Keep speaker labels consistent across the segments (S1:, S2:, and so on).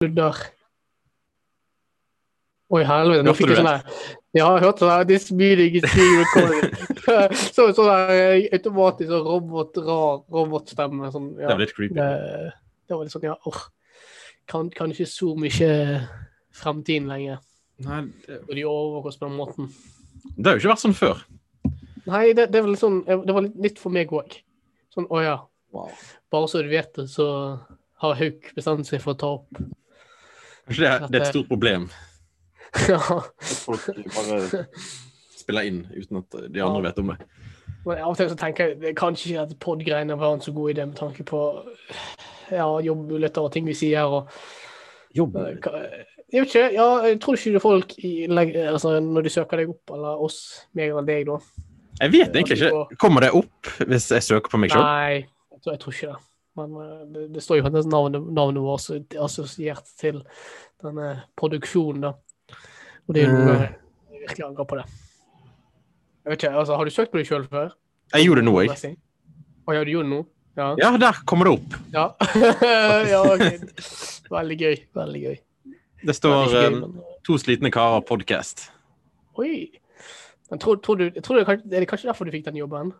S1: sludder. Oi, helvete. Nå
S2: Hørte
S1: fikk
S2: du
S1: jeg sånn
S2: det?
S1: der Ja, jeg hørte sånn der This meeting is being recorded. Så sånn der eh, automatisk sånn robot, rar robotstemme. Sånn,
S2: Det
S1: ja.
S2: er vel litt creepy.
S1: Det, det var litt sånn Ja, åh. Kan, kan ikke så mye fremtiden lenger.
S2: Nei, det,
S1: Og de overgår oss på den måten.
S2: det har jo ikke vært sånn før.
S1: Nei, det, det er vel sånn Det var litt nytt for meg òg. Sånn å ja. Bare så du vet det, så har Hauk bestemt seg for å ta opp.
S2: Kanskje det, er- det er et stort problem
S1: Ja.
S2: folk bare spiller inn uten at de andre vet om det.
S1: Men av og til så tenker jeg det er kanskje ikke at pod-greiene var en så god idé med tanke på ja, jobbmuligheter og ting vi sier. og
S2: Jobb.
S1: eh, hva- jeg vet ikke, ja, jeg tror ikke du folk i, legg- altså, når de søker deg opp, eller oss, meg eller deg, da.
S2: Jeg vet egentlig ikke. Kommer det opp hvis jeg søker på meg sjøl?
S1: Nei, jeg tror, jeg tror ikke det. Men eh, det, det står jo faktisk navnet, navnet vårt så det er assosiert til denne produksjonen, da. Og det er jo noe jeg virkelig angrer på det. Jeg vet ikke, altså, Har du søkt på deg sjøl før?
S2: Jeg gjorde det nå, jeg.
S1: Messing? Å ja, du gjorde det nå? Ja.
S2: Ja, der kommer det opp.
S1: Ja. ja, ok. Veldig gøy. Veldig gøy.
S2: Det
S1: Veldig
S2: står
S1: gøy,
S2: eh,
S1: men- uh,
S2: To slitne karer podcast.
S1: Oi! Men tror, tror du, jeg tror det er, kanskje, er det kanskje derfor du fikk den jobben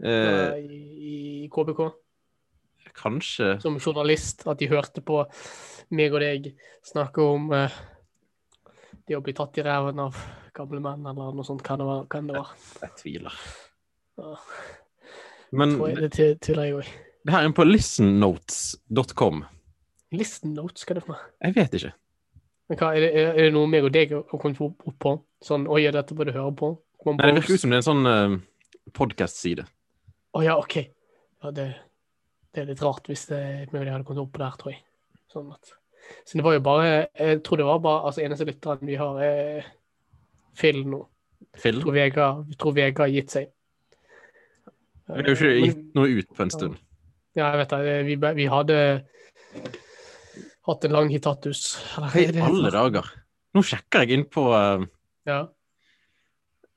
S2: Eh,
S1: eh, i, i KBK?
S2: kanskje
S1: Som journalist, at de hørte på meg og deg snakke om eh, det å bli tatt i ræven av gamle menn, eller noe sånt. Kan det være? Kan det være?
S2: Jeg tviler.
S1: Ja,
S2: Men
S1: tror jeg, det til- tviler jeg òg.
S2: det her er på listennotes.com.
S1: Listen notes, hva er det for noe?
S2: Jeg vet ikke.
S1: Men hva, er, det, er det noe meg og deg har kommet opp, opp på? Sånn 'Oi, ja, dette bør du høre på'? Kom
S2: Nei, det
S1: på
S2: virker ut som det er en sånn eh, podcast-side.
S1: Å ja, OK. Ja, det, det er litt rart hvis det er mulig jeg hadde kommet opp på der, tror jeg. Sånn at. Så det var jo bare Jeg tror det var bare altså eneste lytteren vi har, er Phil nå.
S2: Phil.
S1: Jeg tror Vegard, jeg tror Vegard har gitt seg.
S2: Vi har jo ikke
S1: Men-
S2: gitt noe ut på en stund.
S1: Ja, jeg vet det. Vi, ble- vi hadde hatt en lang hitatus. Eller,
S2: Hei,
S1: er det-
S2: alle dager. Nå sjekker jeg inn på eh,
S1: Ja.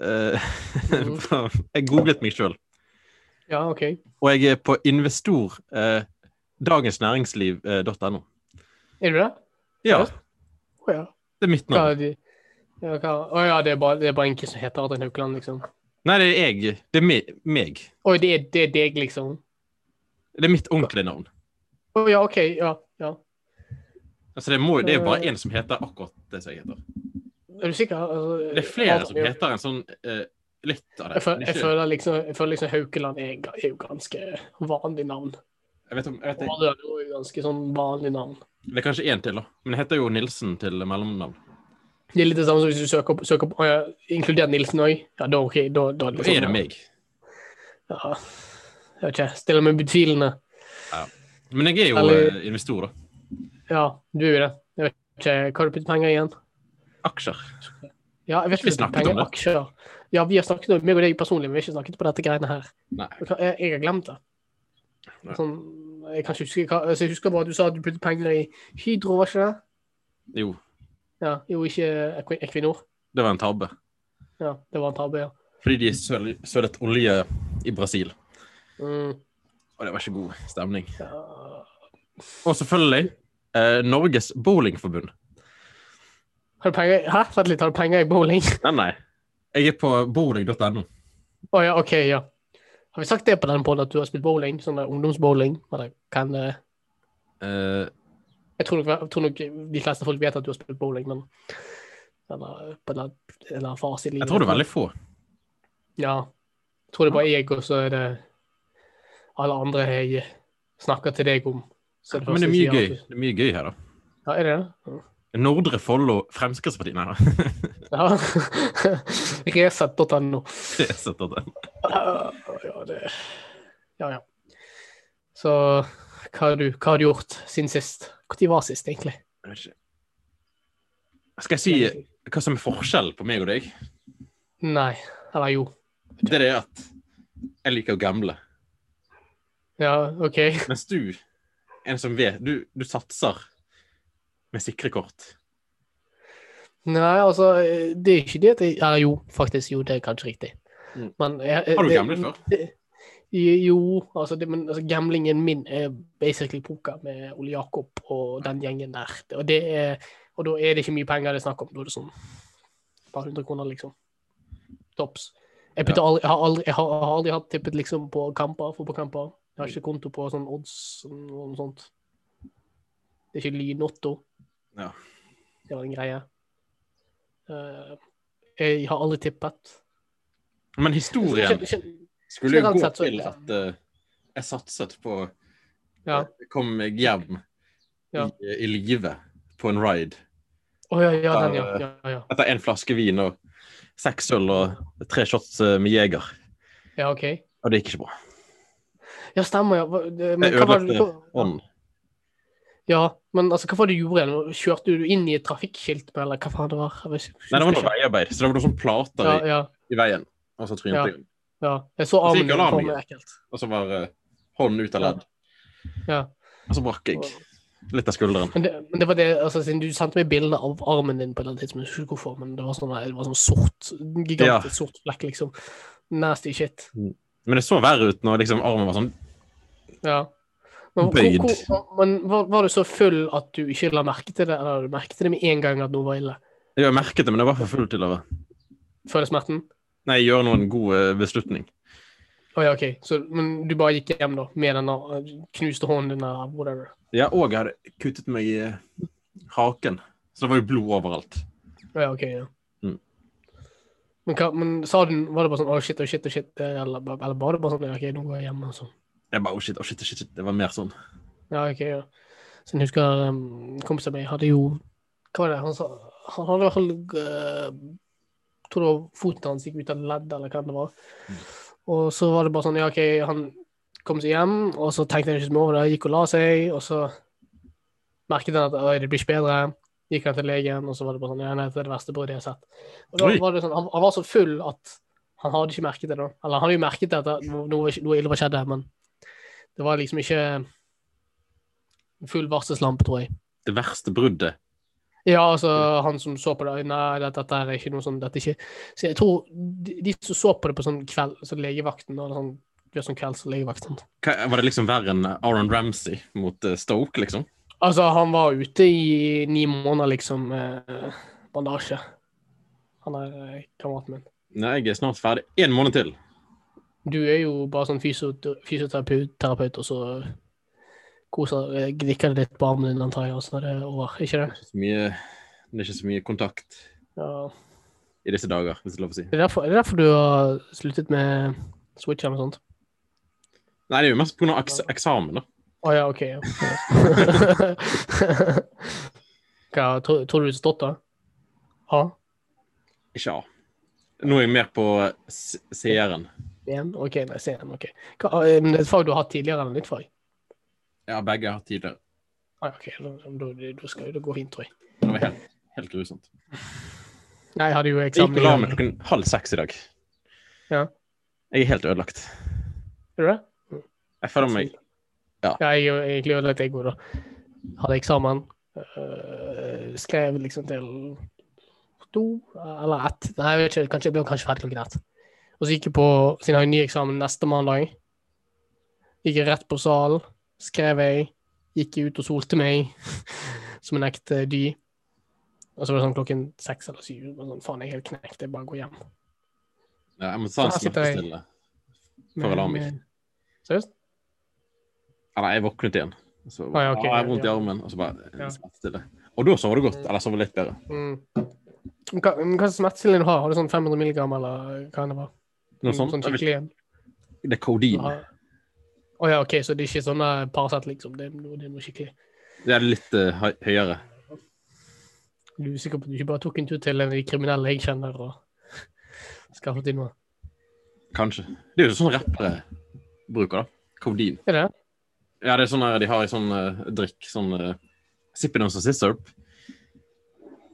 S2: eh,
S1: Mhm.
S2: på- Jeg googlet meg sjøl,
S1: ja, OK.
S2: og jeg er på investor eh, dagensnæringsliv.no.
S1: Er du det?
S2: Ja,
S1: Å ja.
S2: det er mitt
S1: Hva
S2: navn.
S1: er de? Ja, hva? Å ja, det er bare, det er bare en som heter Adrian Haukeland, liksom.
S2: Nei, det er jeg. Det er me- meg.
S1: Oi, det er, det er deg, liksom.
S2: Det er mitt ordentlige navn.
S1: Å ja, OK. Ja. ja.
S2: Altså, det, må, det er jo bare én som heter akkurat det som jeg heter.
S1: Er du sikker? Altså,
S2: Det er flere
S1: Adrian-
S2: som heter en sånn eh, litt av det.
S1: jeg, føl,
S2: men
S1: jeg,
S2: ikke-
S1: føler liksom, jeg føler liksom Haukeland er, ga- er jo ganske vanlig navn.
S2: Jeg vet om, jeg vet,
S1: Adrian er jo ganske sånn vanlig navn.
S2: det er kanskje én til, da. Men jeg heter jo Nilsen til mellomnavn.
S1: Det er litt det samme som hvis du søker opp, søker opp å ja, inkludert Nilsen òg. Ja, da OK. Da, da,
S2: Da er det meg.
S1: Ja. Jeg vet ikke. Stiller meg betvilende.
S2: Men jeg er jo
S1: Eller-
S2: eh, investor, da.
S1: Ja, du er jo det. Jeg vet ikke. Hva har du puttet penger igjen?
S2: Aksjer.
S1: Ja, jeg vet
S2: Vi
S1: ikke.
S2: snakket
S1: penger,
S2: om det.
S1: Aksjer. Ja, vi har snakket om meg og deg personlig, men vi har ikke snakket på dette greiene her.
S2: Nei.
S1: Jeg, kan- jeg, jeg har glemt det.
S2: Nei.
S1: Sånn, jeg kan ikke huske hva altså, Jeg husker bare at du sa at du puttet penger i Hydro, var ikke det?
S2: Jo,
S1: Ja, jo, ikke Equi- Equinor.
S2: det var en tabbe.
S1: Ja, det var en tabbe, ja.
S2: Fordi de søl, sølet olje i Brasil.
S1: Mm,
S2: Og det var ikke god stemning.
S1: ja.
S2: Og selvfølgelig eh, Norges bowlingforbund.
S1: Har du penger i- Hæ, vent litt, har du penger i bowling?
S2: Nei, nei. Jeg er på bowling.no.
S1: Å ja, OK, ja. Har vi sagt det på den podden at du har spilt bowling? Sånn der ungdomsbowling? Eller kan det
S2: Eh,
S1: Jeg tror nok, jeg tror nok de fleste folk vet at du har spilt bowling, men Eller på en eller annen fase i livet.
S2: jeg tror det er veldig få.
S1: Ja. Jeg tror det er bare jeg, og så er det alle andre jeg snakker til deg om. Så det
S2: Men det
S1: første jeg
S2: er mye
S1: sier
S2: gøy
S1: at du-
S2: Det er mye gøy her, da.
S1: Ja, er det det? Ja.
S2: Nordre Follo Fremskrittspartiet. Nei da.
S1: Ja. Resett.no.
S2: Det setter den.
S1: Ja, ja, det Ja, ja. Så hva har du, hva har du gjort siden sist? Når var sist, egentlig?
S2: Jeg vet ikke. Skal jeg si hva som er forskjellen på meg og deg?
S1: Nei. Eller jo.
S2: Det er det at jeg liker å gamble.
S1: Ja, OK.
S2: Mens du, en som vet Du, du satser med sikre kort.
S1: Nei, altså, det er ikke det at jeg Eller jo, faktisk. Jo, det er kanskje riktig.
S2: Mm.
S1: Men jeg,
S2: Har du
S1: det-
S2: gamblet før?
S1: det- Jo, altså, det, men altså, gamblingen min er basically poker med Ole Jakob og den gjengen der. Og, det er, og da er det ikke mye penger det er snakk om. Da er det sånn et par hundre kroner, liksom. Tops. Jeg, putter aldri, jeg, har aldri, jeg, har, jeg har aldri hatt tippet liksom på kamper, fotballkamper. Jeg har ikke konto på sånn odds og noe sånt. Det er ikke lynotto.
S2: Ja.
S1: Det var en greie. Eh, jeg har aldri tippet.
S2: Men historien
S1: Gen- gen-
S2: skulle jo
S1: generelt
S2: gå
S1: sett så-
S2: til at eh, jeg satset på eh,
S1: Ja.
S2: Kom meg hjem
S1: Ja.
S2: i, i live på en ride.
S1: Å ja, ja, den, ja. ja, ja.
S2: Etter én flaske vin og seks øl og tre shots eh, med Jeger.
S1: Ja, OK.
S2: Og det gikk ikke bra.
S1: Ja, stemmer, ja. Hva- det- Men
S2: Jeg
S1: hva var det
S2: ødelagte
S1: hva-
S2: ånden.
S1: Ja, men altså, hva var det du gjorde igjen? Kjørte du inn i et trafikkskilt, eller hva faen det var? Jeg vet ikke.
S2: Nei, det var noe veiarbeid, så det var noen sånne plater
S1: Ja,
S2: i,
S1: ja,
S2: i veien. Og så trynet
S1: Ja.
S2: jeg.
S1: ja. Jeg så
S2: Og så gikk
S1: armen din
S2: alarmen
S1: for meg ekkelt.
S2: Og så var eh, hånden ut av ledd.
S1: Ja.
S2: Og så brakk jeg litt av skulderen.
S1: Men det, men det var det, altså, siden du sendte meg bilder av armen din på et eller annet tidspunkt, jeg husker ikke hvorfor, men det var sånn, det var sånn sort, gigantisk sort flekk, liksom. Nasty shit.
S2: Men det så verre ut når liksom armen var sånn
S1: Ja. Men, hvor-
S2: Bøyd.
S1: hvor- men var, var du så full at du ikke la merke til det, eller du merket det med en gang at noe var ille?
S2: Jeg merket det, men jeg var for full til å
S1: Føler smerten?
S2: Nei, gjøre noen god eh, beslutning.
S1: Å ja, OK. Så, men du bare gikk hjem, da, med den eh, knuste hånden din, eller whatever.
S2: Ja, og jeg hadde kuttet meg i eh, haken. Så det var jo blod overalt.
S1: Å ja, OK. Ja.
S2: Mm.
S1: Men, hva, men sa du Var det bare sånn Å, shit, å, shit, å, shit, eh, eller, ba- eller var det bare sånn ja, OK, nå går jeg hjem, altså.
S2: Jeg bare, oh shit, oh shit, oh shit, shit. Det var mer sånn.
S1: Ja, OK, ja. Så jeg husker um, kompisen min hadde jo Hva var det han sa? Han hadde i hvert fall eh, Tror det var foten hans gikk ut av ledd, eller hva det var. Og så var det bare sånn Ja, OK, han kom seg hjem, og så tenkte han ikke så mye over det, gikk og la seg, og så merket han at «Oi, det blir ikke bedre. Gikk han til legen, og så var det bare sånn Ja, nei, det er det verste bruddet jeg har sett. Og da
S2: Oi.
S1: var det sånn, han, han var så full at han hadde ikke merket det, da. Eller han hadde jo merket det, at det- noe, noe ille var skjedd der, men det var liksom ikke full varselslampe, tror jeg.
S2: Det verste bruddet.
S1: Ja, altså, han som så på det Nei, dette, dette er ikke noe sånn dette er ikke. Så jeg tror de, de som så på det på sånn kveld, sånn legevakten eller sånn, gjør sånn kvelds legevakten
S2: Hva, var det liksom verre enn Aaron Ramsey mot eh, Stoke, liksom?
S1: Altså, han var ute i ni måneder, liksom, med bandasje. Han er eh, kameraten min.
S2: Nei, jeg er snart ferdig. Én måned til.
S1: Du er jo bare sånn fysiote- fysioterapeut, terapeut, og så koser eh, Glikker det litt på armen din, antar jeg, og så er det over. Ikke det?
S2: Ikke så mye, det er ikke så mye kontakt
S1: Ja.
S2: i disse dager, hvis det er lov å si.
S1: Det er derfor, det er derfor du har sluttet med switcher og sånt.
S2: Nei, det er jo mest pga. Eks eksamen, da.
S1: Å ja, OK. ja. Hva, tror, tror du det stått, da? A?
S2: Ikke A. Nå er jeg mer på eh, s- seeren.
S1: B-en? OK, nei, C-en. OK. Hva, eh, men det er et fag du har hatt tidligere, eller nytt fag?
S2: Ja, begge har hatt tidligere.
S1: Ah, ja, OK, da- da da skal jo det gå fint, tror jeg.
S2: Det var helt, helt grusomt.
S1: Nei, jeg hadde jo
S2: Jeg gikk
S1: eksamen
S2: og la meg
S1: i-
S2: klokken halv seks i dag.
S1: Ja.
S2: Jeg er helt ødelagt.
S1: Er du det?
S2: Jeg føler meg
S1: Ja, jeg er jo egentlig ødelagt, jeg òg, da. Hadde eksamen. øh, skrev liksom til to eller ett. Nei, jeg vet ikke, kanskje jeg ble kanskje ferdig klokken ett. Og så gikk jeg på Siden jeg har en ny eksamen neste mandag, gikk jeg rett på salen, skrev jeg, gikk jeg ut og solte meg som en ekte dy. Og så var det sånn klokken seks eller syv. og Sånn, Faen, jeg er helt knekt. Jeg bare går hjem.
S2: ja, Jeg må ta en
S1: Her sitter jeg.
S2: smertestillende. For å la meg.
S1: Men, eh, Seriøst?
S2: Ja, Nei, jeg våknet igjen. Og Så,
S1: Ah, ja, ok,
S2: ah, jeg har vondt i
S1: ja.
S2: armen, og så bare
S1: Ja.
S2: ja. smertestille. Og da sover du godt. Eller sover litt bedre.
S1: Mm. Men Hva, men hva slags smertestillende du har? Har du sånn 500 milligram, eller hva enn det var?
S2: Noe sånt.
S1: Sånn
S2: Jeg vet
S1: skikkelig en.
S2: ikke, Det er kodein.
S1: Ja. Å ja, OK, så det er ikke sånn eh, Paracet, liksom. Det er, noe, det er noe skikkelig.
S2: Det er litt eh, høy- høyere.
S1: Du er sikker på at du ikke bare tok en tur til en av de kriminelle jeg kjenner, og skaffet inn noe?
S2: Kanskje. Det er jo sånn rappere bruker, da. Kodein.
S1: Er det?
S2: Ja, det er sånn her de har i sånn eh, drikk. Sånn uh, Zippidons og Sisserp.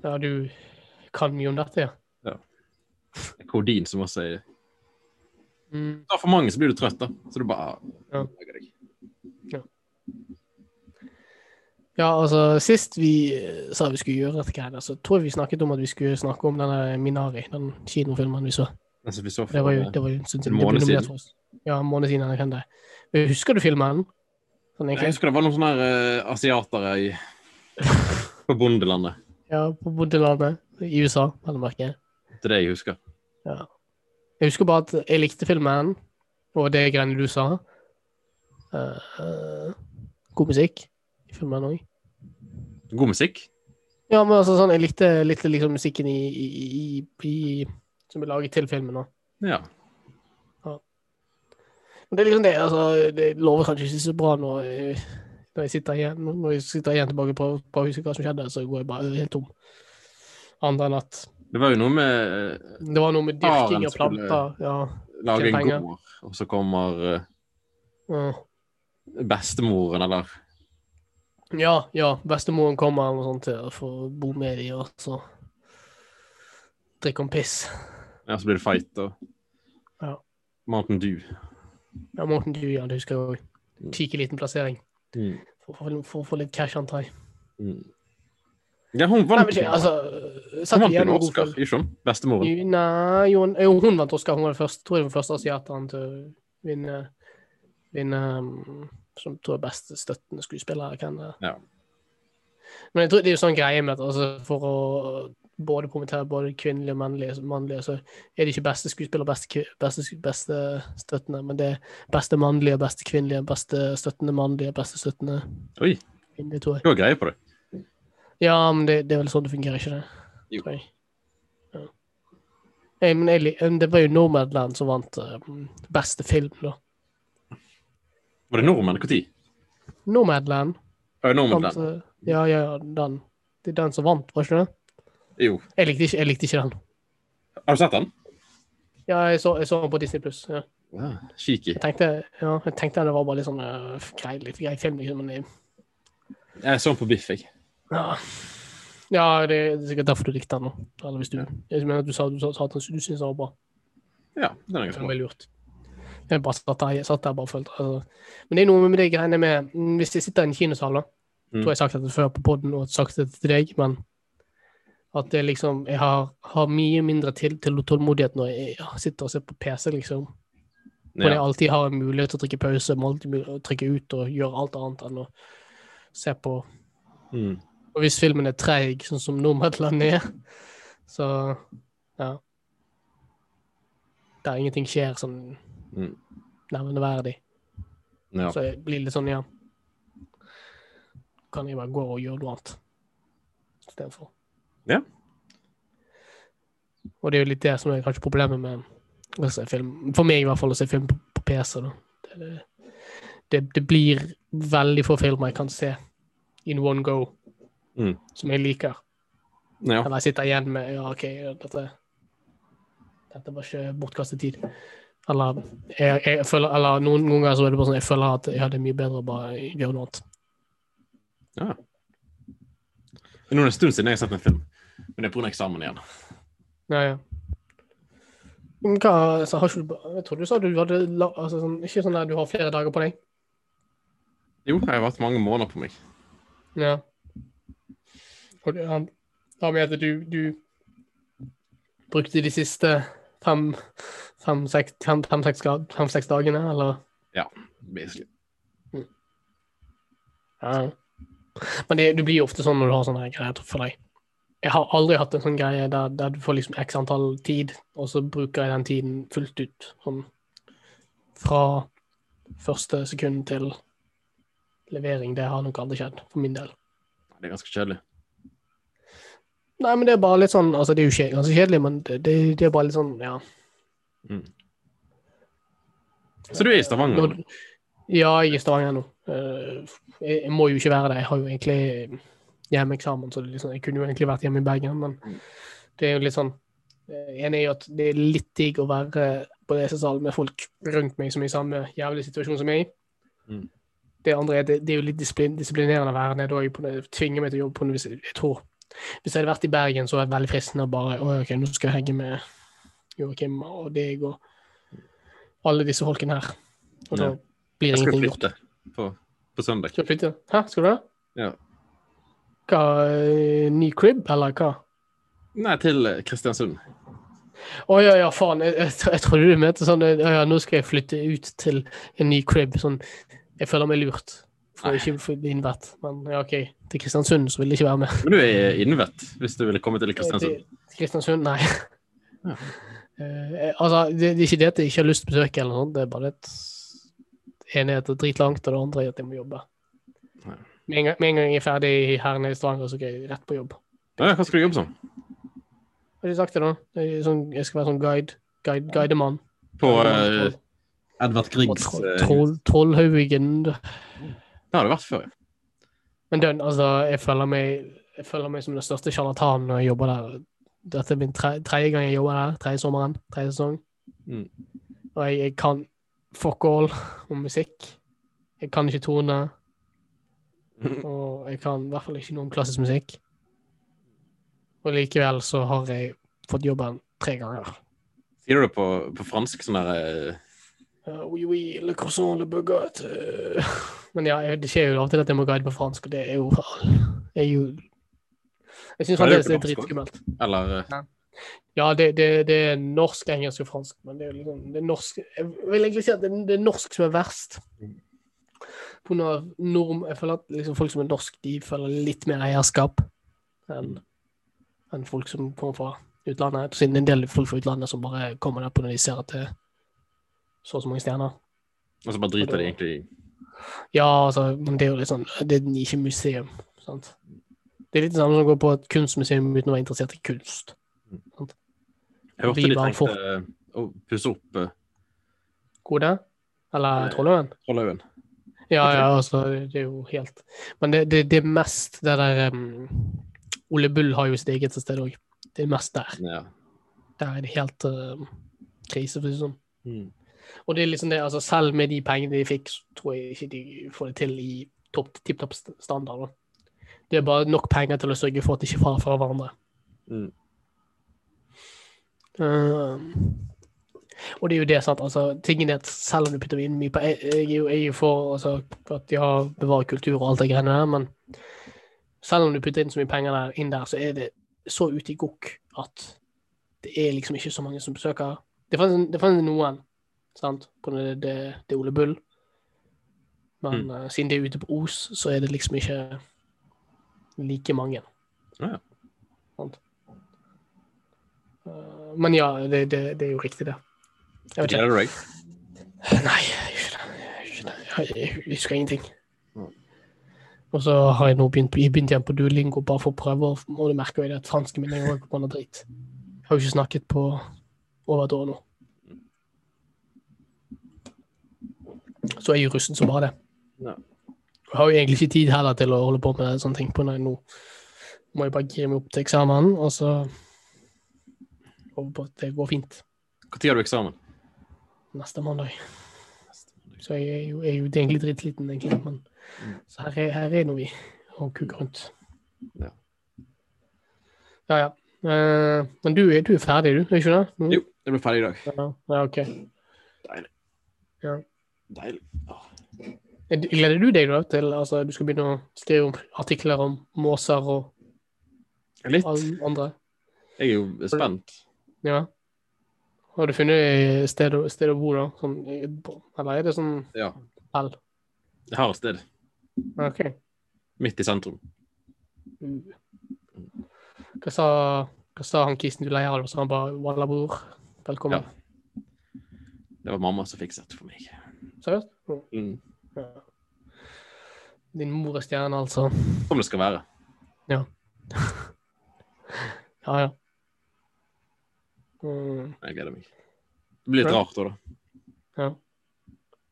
S1: Ja, du kan mye om dette, ja.
S2: Kodein som også er
S1: Mm.
S2: Ta for mange, så blir du trøtt, da. Så du bare
S1: Ja.
S2: ah, legger deg.
S1: Ja, altså, sist vi eh, sa vi skulle gjøre dette greiene, så tror jeg vi snakket om at vi skulle snakke om denne Minari, den kinofilmen vi så.
S2: Men så vi så for,
S1: Det var jo, det var jo en stund
S2: En
S1: Det ble
S2: måned
S1: nominert
S2: siden.
S1: for oss. ja, en måned siden. eller hvem det er. Husker du filmen? Sånn,
S2: Jeg
S1: egentlig.
S2: husker det var noen sånne her, eh, asiatere i, på bondelandet.
S1: Ja, på bondelandet i USA, vel å merke.
S2: Det er det jeg husker.
S1: Jeg husker bare at jeg likte filmen, og det greiene du sa. Eh, eh, god musikk i filmen òg.
S2: God musikk.
S1: Ja, men altså sånn, jeg likte, likte liksom musikken i, i, i, i som er laget til filmen. da.
S2: Ja.
S1: Men det er liksom det, altså, det lover kanskje ikke så bra når, eh, når jeg sitter igjen når jeg sitter igjen tilbake på, på å huske hva som skjedde, så går jeg bare helt tom. Annet enn at
S2: Det var jo noe med eh,
S1: det var noe med dyrking
S2: Faren
S1: av
S2: skulle-
S1: planter. Ja.
S2: lage en
S1: penger.
S2: gård, og så kommer eh,
S1: ja.
S2: bestemoren, eller
S1: Ja, ja. Bestemoren kommer eller noe sånt til å få bo med de, og så drikke om piss.
S2: Ja, så blir det fight, og
S1: Ja.
S2: Mountain Dew.
S1: Ja, Morten Dew, ja, det husker jeg òg. Cheeky liten plassering.
S2: Mm.
S1: For for- for å få litt cash, antar jeg.
S2: Mm. Ja, hun
S1: Nei,
S2: vant,
S1: men
S2: jo-
S1: ikke, altså
S2: hun
S1: Satt
S2: vant jo
S1: igjen
S2: en
S1: med god
S2: Oscar,
S1: film.
S2: ikke hun? Bestemoren.
S1: Nei, jo, hun- jo, hun vant Oscar. Hun var den første, tror jeg den første asiateren til å vinne, vinne um, som tror jeg beste støttende skuespiller. Kan det.
S2: Ja.
S1: Men jeg tror det er jo sånn greie med at altså, for å både promotere både kvinnelige og mannlige, mannlige så er det ikke beste skuespiller og beste, kvi- beste, sku- beste støttende, men det er beste mannlige, beste kvinnelige, beste støttende mannlige, beste støttende
S2: Oi,
S1: kvinnelige, tror jeg.
S2: hun har greie på det.
S1: Ja, men det, det er vel sånn det fungerer, ikke det?
S2: Jo.
S1: Tror jeg. Ja. Eh, men jeg, lik- eh, det var jo Nomadland som vant eh, beste film, da.
S2: Var det nordmenn? Når?
S1: Nomadland.
S2: Ja, nordmenn
S1: Vant,
S2: den.
S1: eh, ja, ja, ja, den. Det er den som vant, var ikke det?
S2: Jo.
S1: Jeg likte ikke, jeg likte ikke den.
S2: Har du sett den?
S1: Ja, jeg så, jeg så den på Disney Pluss. Ja.
S2: Ja, Cheeky.
S1: Jeg tenkte ja, jeg tenkte det var bare litt sånn eh, grei, litt grei film, liksom. Men jeg,
S2: Jeg så den på Biff, jeg.
S1: ja. ja, det er sikkert derfor du likte den. da. Eller hvis du,
S2: Ja.
S1: Jeg mener at du sa, du sa sa at du syntes den var bra.
S2: Ja, den er
S1: Det
S2: ganske bra.
S1: var lurt. Jeg bare satt der, jeg satt der bare og følte altså. Men det er noe med de greiene med mm, Hvis jeg sitter i en kinosal, da
S2: Mm.
S1: tror jeg jeg har sagt dette før på poden og sagt det til deg, men at det liksom Jeg har, har mye mindre til, til tålmodighet når jeg ja, sitter og ser på PC, liksom. Hvor jeg
S2: Ja.
S1: alltid har en mulighet til å trykke pause, må alltid mul- trykke ut og gjøre alt annet enn å se på
S2: Mm.
S1: Og hvis filmen er treig, sånn som Nomadland er, så ja Der ingenting skjer sånn
S2: Mm.
S1: nevneverdig.
S2: ja.
S1: Så jeg blir litt sånn, ja Kan jeg bare gå og gjøre noe annet istedenfor.
S2: Ja.
S1: Og det er jo litt det som er kanskje problemet med å se film. For meg i hvert fall, å se film på, på PC. da. Det, det, det blir veldig få filmer jeg kan se in one go,
S2: Mm.
S1: som jeg liker.
S2: ja.
S1: Eller jeg sitter igjen med Ja, OK, dette, dette var ikke bortkastet tid. Eller, jeg, jeg føler, eller noen, noen ganger så er det bare sånn jeg føler at jeg hadde mye bedre å bare gjøre noe annet.
S2: ja. Det er nå en stund siden jeg har sett en film, men det er pga. eksamen igjen.
S1: Ja, ja. Men hva, altså, har ikke du, ba- jeg trodde du sa du hadde la- altså, sånn, Ikke sånn der du har flere dager på deg.
S2: Jo, jeg har hatt mange måneder på meg.
S1: Ja. Og det han- da med at du, du brukte de siste fem-seks fem, seks- fem, fem, seks grad- fem, seks dagene, eller?
S2: Basically.
S1: Ja. Men det, du blir jo ofte sånn når du har sånne her greier for deg. Jeg har aldri hatt en sånn greie der, der du får liksom x antall tid, og så bruker jeg den tiden fullt ut. Sånn fra første sekund til levering. Det har nok aldri skjedd, for min del.
S2: Det er ganske kjedelig.
S1: Nei, men det er bare litt sånn Altså, det er jo kje- ganske kjedelig, men det, det, det er bare litt sånn, ja.
S2: Så du er i Stavanger?
S1: Når, ja, jeg er i Stavanger nå. Eh, Jeg, jeg må jo ikke være der. Jeg har jo egentlig eh, hjemmeeksamen, så det er litt sånn- jeg kunne jo egentlig vært hjemme i Bergen, men
S2: Mm.
S1: det er jo litt sånn eh, Enig i at det er litt digg å være på lesesalen med folk rundt meg som er i samme jævlige situasjon som meg.
S2: Mm.
S1: Det andre er det, det er jo litt disiplin, disiplinerende å være nede og jeg på det- tvinge meg til å jobbe på noe hvis jeg, jeg tror Hvis jeg hadde vært i Bergen, så var det veldig fristende å bare Å, OK, nå skal jeg henge med Joakim og deg og alle disse folkene her. Og da
S2: Ja.
S1: blir
S2: Jeg skal
S1: ingenting gjort.
S2: flytte på, på søndag.
S1: Skal du flytte? Hæ, skal du det?
S2: Ja.
S1: Hva, eh, ny crib, eller hva?
S2: Nei, til eh, Kristiansund.
S1: Å ja, ja, faen. Jeg, jeg, tro- jeg trodde du mente sånn ja, ja, nå skal jeg flytte ut til en ny crib. Sånn Jeg føler meg lurt. For
S2: Nei.
S1: ikke for din vett. Men ja, OK. Til Kristiansund så vil jeg ikke være med.
S2: Men du er innvett, hvis du ville komme til Kristiansund.
S1: Eh, Til Kristiansund, nei.
S2: Ja.
S1: Eh, altså, det, det er ikke det at jeg ikke har lyst til å besøke eller noe, det er bare det at ene er at det er dritlangt, og det andre er at jeg må jobbe.
S2: Ja.
S1: Med en, gang, med en gang jeg er ferdig her nede i Stavanger, så skal jeg rett på jobb.
S2: Ja, hva skal du jobbe som?
S1: Har de sagt det, da? Jeg, er sånn, jeg skal være sånn guide, guide guidemann.
S2: På
S1: Guidemann,
S2: eh, Edvard
S1: troll-
S2: Griegs
S1: troll-
S2: eh,
S1: troll- Trollhaugen.
S2: Det har det vært før, ja.
S1: Men den, altså, jeg føler meg, jeg føler meg som den største sjarlatanen når jeg jobber der. Dette er min tre, tredje gang jeg jobber der. Tredje sommeren. Tredje sesong.
S2: Mm.
S1: Og jeg, jeg kan fuck all om musikk. Jeg kan ikke tone. Og jeg kan i hvert fall ikke noe om klassisk musikk. Og likevel så har jeg fått jobben tre ganger.
S2: Sier du det på, på fransk sånn der eh,
S1: Uh, oui, oui, le croissant, le euh. baguette. Men ja, jeg- det skjer jo av og til at jeg må guide på fransk, og det er jo Jeg, er jo, jeg syns
S2: Men det er jo
S1: fremdeles det er
S2: ikke norsk,
S1: dritskummelt.
S2: Eller eh,
S1: Ja, det, det, det er norsk, engelsk og fransk, men det er, jo liksom, det er norsk Jeg vil egentlig si at det, er- det er norsk som er verst. På grunn av norm Jeg føler at liksom folk som er norsk, de føler litt mer eierskap enn enn folk som kommer fra utlandet. Siden det er en del folk fra utlandet som bare kommer der på når de ser at det er så og så mange stjerner.
S2: Og så bare driter de egentlig i
S1: Ja, altså, men det er jo litt sånn Det er ikke museum, sant. Det er litt det samme som å gå på et kunstmuseum uten å være interessert i kunst.
S2: Jeg hørte
S1: Vi
S2: de
S1: var
S2: trengte
S1: for-
S2: eh, å pusse opp eh,
S1: Kode? Eller
S2: Nei.
S1: Trollhaugen?
S2: Trollhaugen.
S1: Ja,
S2: Ok.
S1: ja, altså, det er jo helt Men det, det, det er mest det der um, Ole Bull har jo sitt eget sted òg. Det er mest der.
S2: Ja.
S1: Der er det helt um, krise, for å si det sånn.
S2: Mm.
S1: Og det er liksom det, altså, selv med de pengene de fikk, så tror jeg ikke de får det til i topp tipp topp st- standard. Da. Det er bare nok penger til å sørge for at de ikke faller fra hverandre.
S2: Mm.
S1: Um, og det er jo det, sant. Altså, tingen er at selv om du putter inn mye på Jeg, jeg, er jo- jeg er jo for altså, at de har bevarer kultur og alt det greiene der, men selv om du putter inn så mye penger der, inn der, så er det så ute i gokk at det er liksom ikke så mange som besøker. Det fanns, det fanns noen, sant, på det, det, det er Ole Bull. Men
S2: Mm.
S1: eh, siden det er ute på Os, så er det liksom ikke like mange.
S2: Ja.
S1: Sant? Eh, men ja, det, det, det er jo riktig, det. Jeg vet ikke.
S2: Gleder du deg?
S1: Nei, jeg gjør ikke det. Jeg gjør ikke det. Jeg- Jeg husker ingenting.
S2: Mm.
S1: Og så har jeg nå begynt, jeg begynte igjen på Duolingo bare for å prøve, og og du merker jo det at fransken min er jo på noe drit. Jeg har jo ikke snakket på over et år nå. Så er jeg jo russen som bare det.
S2: Ja.
S1: Jeg har jo egentlig ikke tid heller til å holde på med sånne ting på når jeg nå må jeg bare gire meg opp til eksamen, og så håper på at det går fint
S2: Når har du eksamen?
S1: neste mandag. Så jeg er jo, jeg er jo det er egentlig dritsliten, egentlig. Men
S2: Mm.
S1: så her er, her er nå vi og kuker rundt.
S2: Ja.
S1: Ja, ja. Eh, men du, er- du er ferdig, du? Er ikke det? Mm.
S2: Jo, jeg ble ferdig i dag.
S1: Ja, ja, OK.
S2: Deilig.
S1: Gleder du deg da til altså, du skal begynne å skrive om artikler om måser og
S2: Litt.
S1: alle andre?
S2: Jeg er jo spent.
S1: Ja. Har du funnet et sted, å- sted å bo, da? Sånn, eh, eller er det sånn
S2: Ja.
S1: Vel.
S2: Jeg har et sted.
S1: OK.
S2: Midt i sentrum.
S1: Mm. Hva sa, hva sa han kisen du leier av? Så han bare 'Walla, bror. Velkommen'.
S2: Det var mamma som fikset det for meg.
S1: Seriøst? Mm.
S2: Mm.
S1: Ja. Din mor er stjerne, altså.
S2: Som Sånn det skal være.
S1: Ja, ja. Mm.
S2: Jeg gleder meg. Det blir litt
S1: Ja.
S2: rart òg, da.
S1: Jeg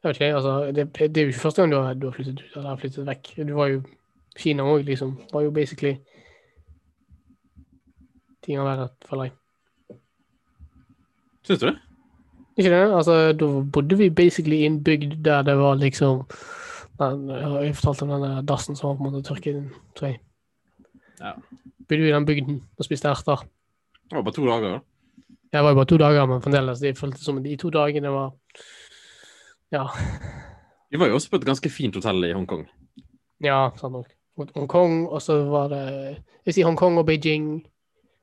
S1: vet ikke, jeg, altså. Det, det er jo ikke første gang du har, du har flyttet ut eller har flyttet vekk. Du var jo Kina òg, liksom. Var jo basically ting av verre for deg.
S2: Syns du det?
S1: Ikke det? Altså, da bodde vi basically i en bygd der det var liksom den, Jeg har jo fortalt om den dassen som var på en måte tørket inn. Så jeg
S2: Ja.
S1: bodde jo i den bygden og spiste erter.
S2: Det var bare to dager, da.
S1: Jeg var jo bare to dager, men fremdeles. Det føltes som de to dagene var Ja,
S2: Vi var jo også på et ganske fint hotell i Hongkong.
S1: ja sant nok. Hongkong, og så var det Jeg vil si Hongkong og Beijing,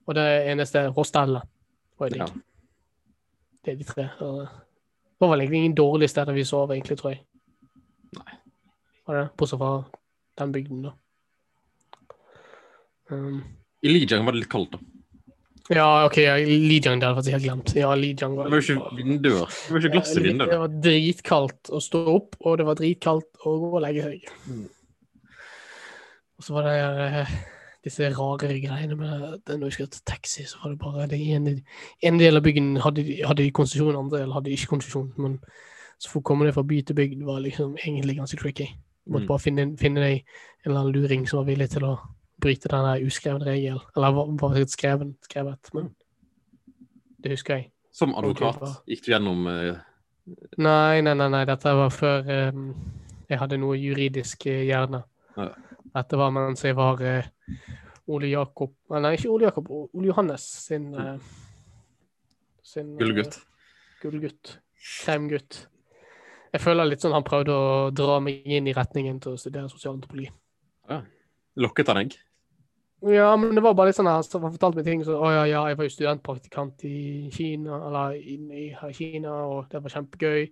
S1: og det eneste Rostella. var jo digg.
S2: Ja.
S1: Det er de tre. så Det var vel egentlig ingen dårlige steder vi sov, egentlig, tror jeg.
S2: Nei.
S1: Var det? Bortsett fra den bygden, da. Um,
S2: I Lijiang var det litt kaldt, da.
S1: ja, OK, ja, Lijiang det hadde jeg faktisk helt glemt. Ja, Lijiang var
S2: Det var jo ikke vinduer. Det var jo ikke glass i
S1: Det
S2: vinduene.
S1: var dritkaldt å stå opp, og det var dritkaldt å gå og legge seg.
S2: Mm.
S1: Og så var det eh, disse rare greiene med at når vi skulle ta taxi, så var det bare det ene, En del av bygden hadde, de- hadde de konsesjon, andre del hadde de ikke konsesjon. Men så for å komme ned fra by til bygd var liksom egentlig ganske tricky. Du måtte
S2: Mm.
S1: bare finne, finne deg en eller annen luring som var villig til å bryte den der uskrevne regelen. Eller var var sikkert skreven, skrevet,
S2: Mm.
S1: men det husker jeg.
S2: Som advokat gikk du gjennom eh,
S1: Nei, nei, nei, nei. dette var før ehm, jeg hadde noe juridisk eh, hjerne.
S2: Ja.
S1: Dette var mens jeg var eh, Ole Jakob eh, Nei, ikke Ole Jakob, O- Ole Johannes sin, eh, sin eh,
S2: gullgutt.
S1: Gullgutt. Kremgutt. Jeg føler litt sånn han prøvde å dra meg inn i retningen til å studere sosialantropologi.
S2: Lokket han deg?
S1: Ja, men det var bare litt sånn her, så han fortalte meg ting som Å ja, ja, jeg var jo studentpraktikant i Kina, eller i, i her i Kina, og det var kjempegøy.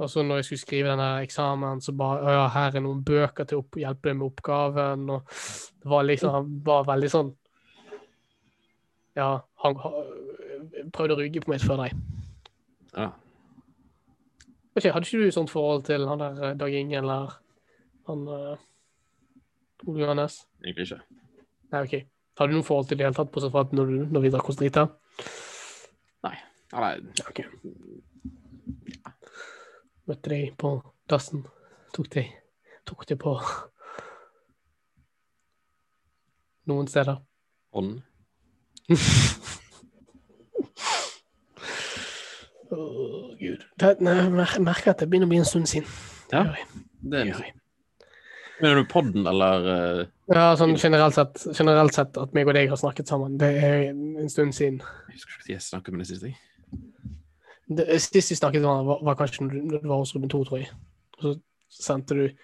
S1: Og så når jeg skulle skrive denne eksamen, så bare Å ja, her er noen bøker til å opp- hjelpe deg med oppgaven, og det var liksom Han var veldig sånn Ja, han han prøvde å ruge på meg før deg.
S2: Ja.
S1: Vet ikke, hadde ikke du sånt forhold til han der eh, Dag Inge, eller han eh, Ole Johannes?
S2: Egentlig ikke.
S1: Nei, OK. Har du noe forhold til det i hele tatt, bortsett fra at når, du, når vi drakk oss drita?
S2: Ja, nei,
S1: Ja, ok. Møtte deg på dassen. Tok deg Tok deg på Noen steder.
S2: hånd.
S1: Å, gud. Det, nei, jeg mer- merker at det begynner å bli en stund siden.
S2: Ja.
S1: Det gjør jeg.
S2: Det
S1: Det
S2: er
S1: gjør jeg.
S2: Mener du podden eller eh,
S1: Ja, sånn generelt sett, generelt sett at meg og deg har snakket sammen, det er en stund siden.
S2: Jeg husker ikke når jeg snakket med deg sist. jeg.
S1: det, eh, Sist vi snakket med hverandre, var, var kanskje når du, når du var hos Ruben 2, tror jeg. Og så sendte du jeg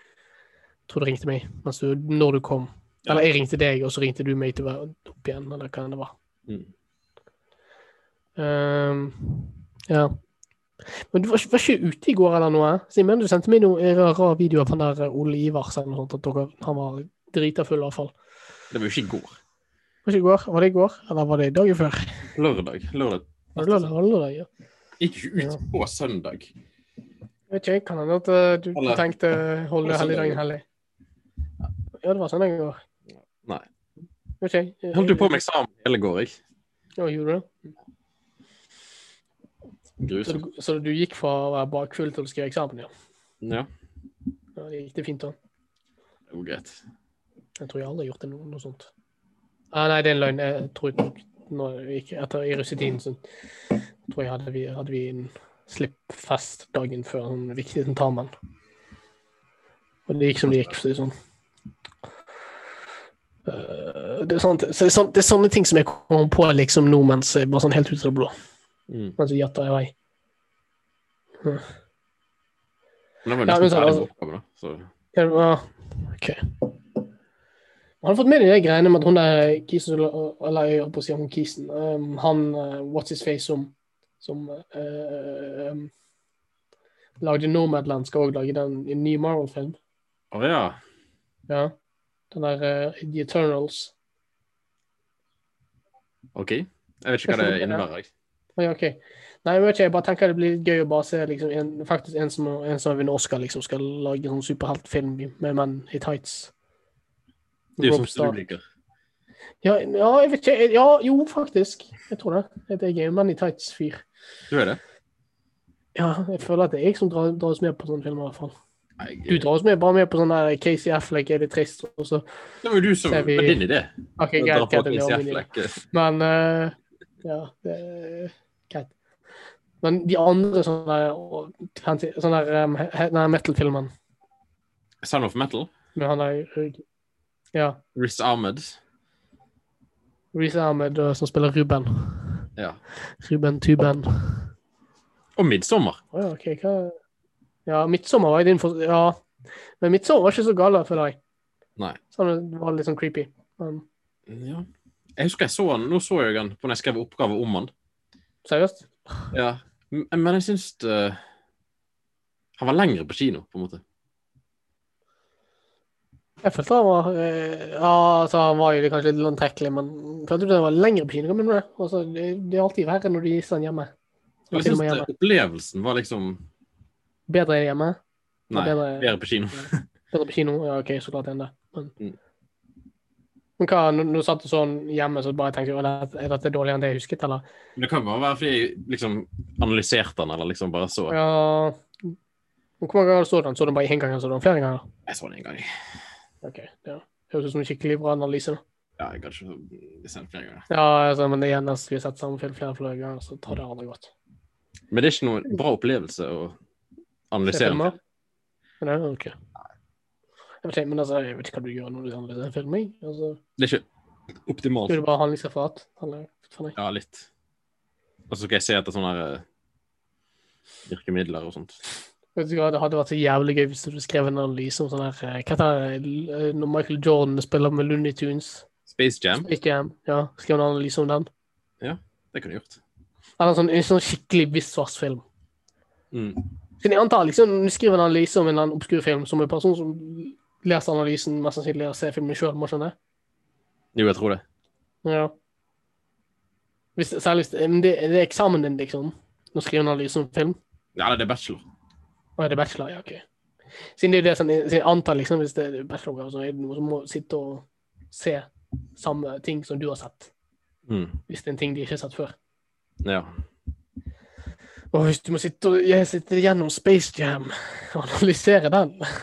S1: Tror du ringte meg mens du, når du kom.
S2: Ja.
S1: Eller jeg ringte deg, og så ringte du meg til å være opp igjen, eller hva enn det var.
S2: Mm.
S1: Ehm, ja. Men du var, ikke- var ikke ute i går eller noe? eh? Simen, du sendte meg noen eh, rare videoer av han der eh, Ole Iversen og sånt, at dere, han var drita full, i hvert fall.
S2: Det var jo ikke i går.
S1: Var, ikke i går? var det i går, eller var det dagen før?
S2: Lørdag. Lørdag.
S1: Var det lørdag? Var det lørdag? Ja.
S2: Gikk jo ikke ut på søndag.
S1: Jeg vet ikke, kan hende at eh, du
S2: Eller-
S1: tenkte eh, holde
S2: Eller søndag.
S1: helligdagen hellig. Ja, det var sånn søndag i går.
S2: Nei.
S1: Jeg vet ikke.
S2: Jeg holdt jo på med eksamen hele går, jeg.
S1: Ja, gjorde du det? Så
S2: Grusomt.
S1: du, så du gikk fra å være bakfull til å skrive eksamen, ja.
S2: Ja,
S1: ja det gikk det fint da.
S2: det var greit.
S1: Jeg tror jeg aldri har gjort det noe, noe sånt. Ah, nei, det er en løgn. Jeg tror nok når jeg gikk etter i russetiden, så tror jeg hadde vi, hadde vi en slippfest dagen før den viktige tentamen. Og det gikk som det gikk, for å si det sånn. Eh, det, er sånt, så det, er sånt, det er sånne ting som jeg kommer på liksom nå mens jeg bare sånn helt ut av det blå.
S2: Mm.
S1: Mens jeg gjetter i vei.
S2: Men det var jo
S1: Ja, men
S2: nesten
S1: så-
S2: ferdig med oppgaven, da. Så
S1: Ja, det var- OK. Har du fått med deg de greiene med at hun der Kisen Eller jeg holdt på å si hun Kisen. ehm, han eh, What's His Face som, som eh, ehm, lagde Nomadland, skal òg lage den i en ny Marvel-film.
S2: Å ja.
S1: Ja. Den der eh, The Eternals.
S2: OK. Jeg vet ikke hva det innebærer. jeg.
S1: Å, Ja, OK. Nei, jeg vet ikke, jeg bare tenker det blir litt gøy å bare se liksom, en, faktisk en som, en som har vunnet Oscar, liksom, skal lage en sånn superheltfilm med menn i tights.
S2: Det er jo
S1: Rob
S2: som
S1: Stark.
S2: du liker.
S1: Ja, ja, jeg vet ikke. Ja, jo, faktisk. Jeg tror det. At jeg er en mann i tights-fyr.
S2: Du er det?
S1: Ja, jeg føler at det er jeg som drar, dras med på sånne filmer, i hvert fall.
S2: Nei,
S1: Du dras med bare med på sånn der Casey Affleck er litt trist, og så
S2: Det var jo du som
S1: Ser
S2: Det
S1: vi-
S2: var din idé.
S1: OK, greit,
S2: Å dra på
S1: greit, det
S2: Casey
S1: var min idé.
S2: Affleck.
S1: Men eh, Ja, det er greit. Men de andre sånne der, og- fancy- sånne der um, he- den der metal-filmen
S2: Sound of Metal.
S1: med han der Ja.
S2: Riz Ahmed.
S1: Reece Ahmed og- som spiller Ruben.
S2: Ja.
S1: Ruben Tuben.
S2: Og Midtsommer.
S1: Å ja, ok. Hva Ja, midtsommer var jeg din for... Ja. Men midtsommer var ikke så gal, da, føler jeg.
S2: Nei.
S1: Sånn, det var litt sånn creepy. Men
S2: Ja. Jeg husker jeg så han. Nå så jeg han på når jeg skrev oppgave om han.
S1: seriøst?
S2: Ja. M- Men jeg syns eh, Han var lengre på kino, på en måte.
S1: Jeg følte han var eh, Ja, altså, han var jo litt- kanskje litt langtrekkelig, men følte du det var lengre på kino? Men altså, det, det er alltid verre når du viser den hjemme. Og
S2: Jeg
S1: til og
S2: syns
S1: med
S2: eh, opplevelsen var liksom
S1: Bedre er det hjemme.
S2: Nei,
S1: Bedre,
S2: bedre på kino.
S1: bedre på kino. Ja, OK, så klart enn det. Men,
S2: Mm.
S1: men hva, når når du satt sånn hjemme, så bare tenkte du at er dette dårligere enn det jeg husket, eller?
S2: Men det kan bare være fordi jeg liksom analyserte han, eller liksom bare så
S1: Ja Men Hvor mange ganger så du den? Så du den bare én gang, eller så du den flere ganger?
S2: Jeg så den en gang.
S1: OK. ja. Høres ut som en skikkelig bra analyse. da.
S2: Ja, jeg kan ikke se den flere ganger.
S1: Ja, altså, men det er nesten vi har sett samme film flere flere ganger, så tar det aldri godt.
S2: Men det er ikke noen bra opplevelse å
S1: Se
S2: analysere.
S1: filmer? Men det er jo ok. Jeg vet, ikke, men altså, jeg vet ikke hva du gjør når du analyserer en film. jeg. Altså,
S2: Det er ikke
S1: Gjør
S2: optimalt.
S1: du bare handlingsreferat? Eller hva faen jeg?
S2: Ja, litt. Og så skal jeg se etter sånne her eh, virkemidler og sånt.
S1: Vet du hva, Det hadde vært så jævlig gøy hvis du skrev en analyse om sånn her eh, Hva heter det eh, når Michael Jordan spiller med Looney Tunes?
S2: Space Jam,
S1: Space Jam. Ja, skrev en analyse om den.
S2: det kunne jeg gjort.
S1: Eller en sånn, en sånn skikkelig bisvartsfilm.
S2: Mm.
S1: Siden jeg antar liksom, når du skriver en analyse om en eller annen obskur film, som en person som leser analysen, mest sannsynlig har sett filmen sjøl, må skjønne.
S2: Jo, jeg tror det.
S1: Ja. Hvis, særlig hvis men det, det er eksamen din, liksom. Når du skriver en analyse om film.
S2: Ja, eller det er bachelor.
S1: Og er det bachelor? Ja, OK. Siden det er jo det som siden jeg antar, liksom, hvis det er bacheloroppgave, så er det noen som må sitte og se samme ting som du har sett.
S2: Mm.
S1: Hvis det er en ting de ikke har sett før.
S2: Ja.
S1: Og hvis du må sitte og jeg sitter gjennom Space Jam og analysere den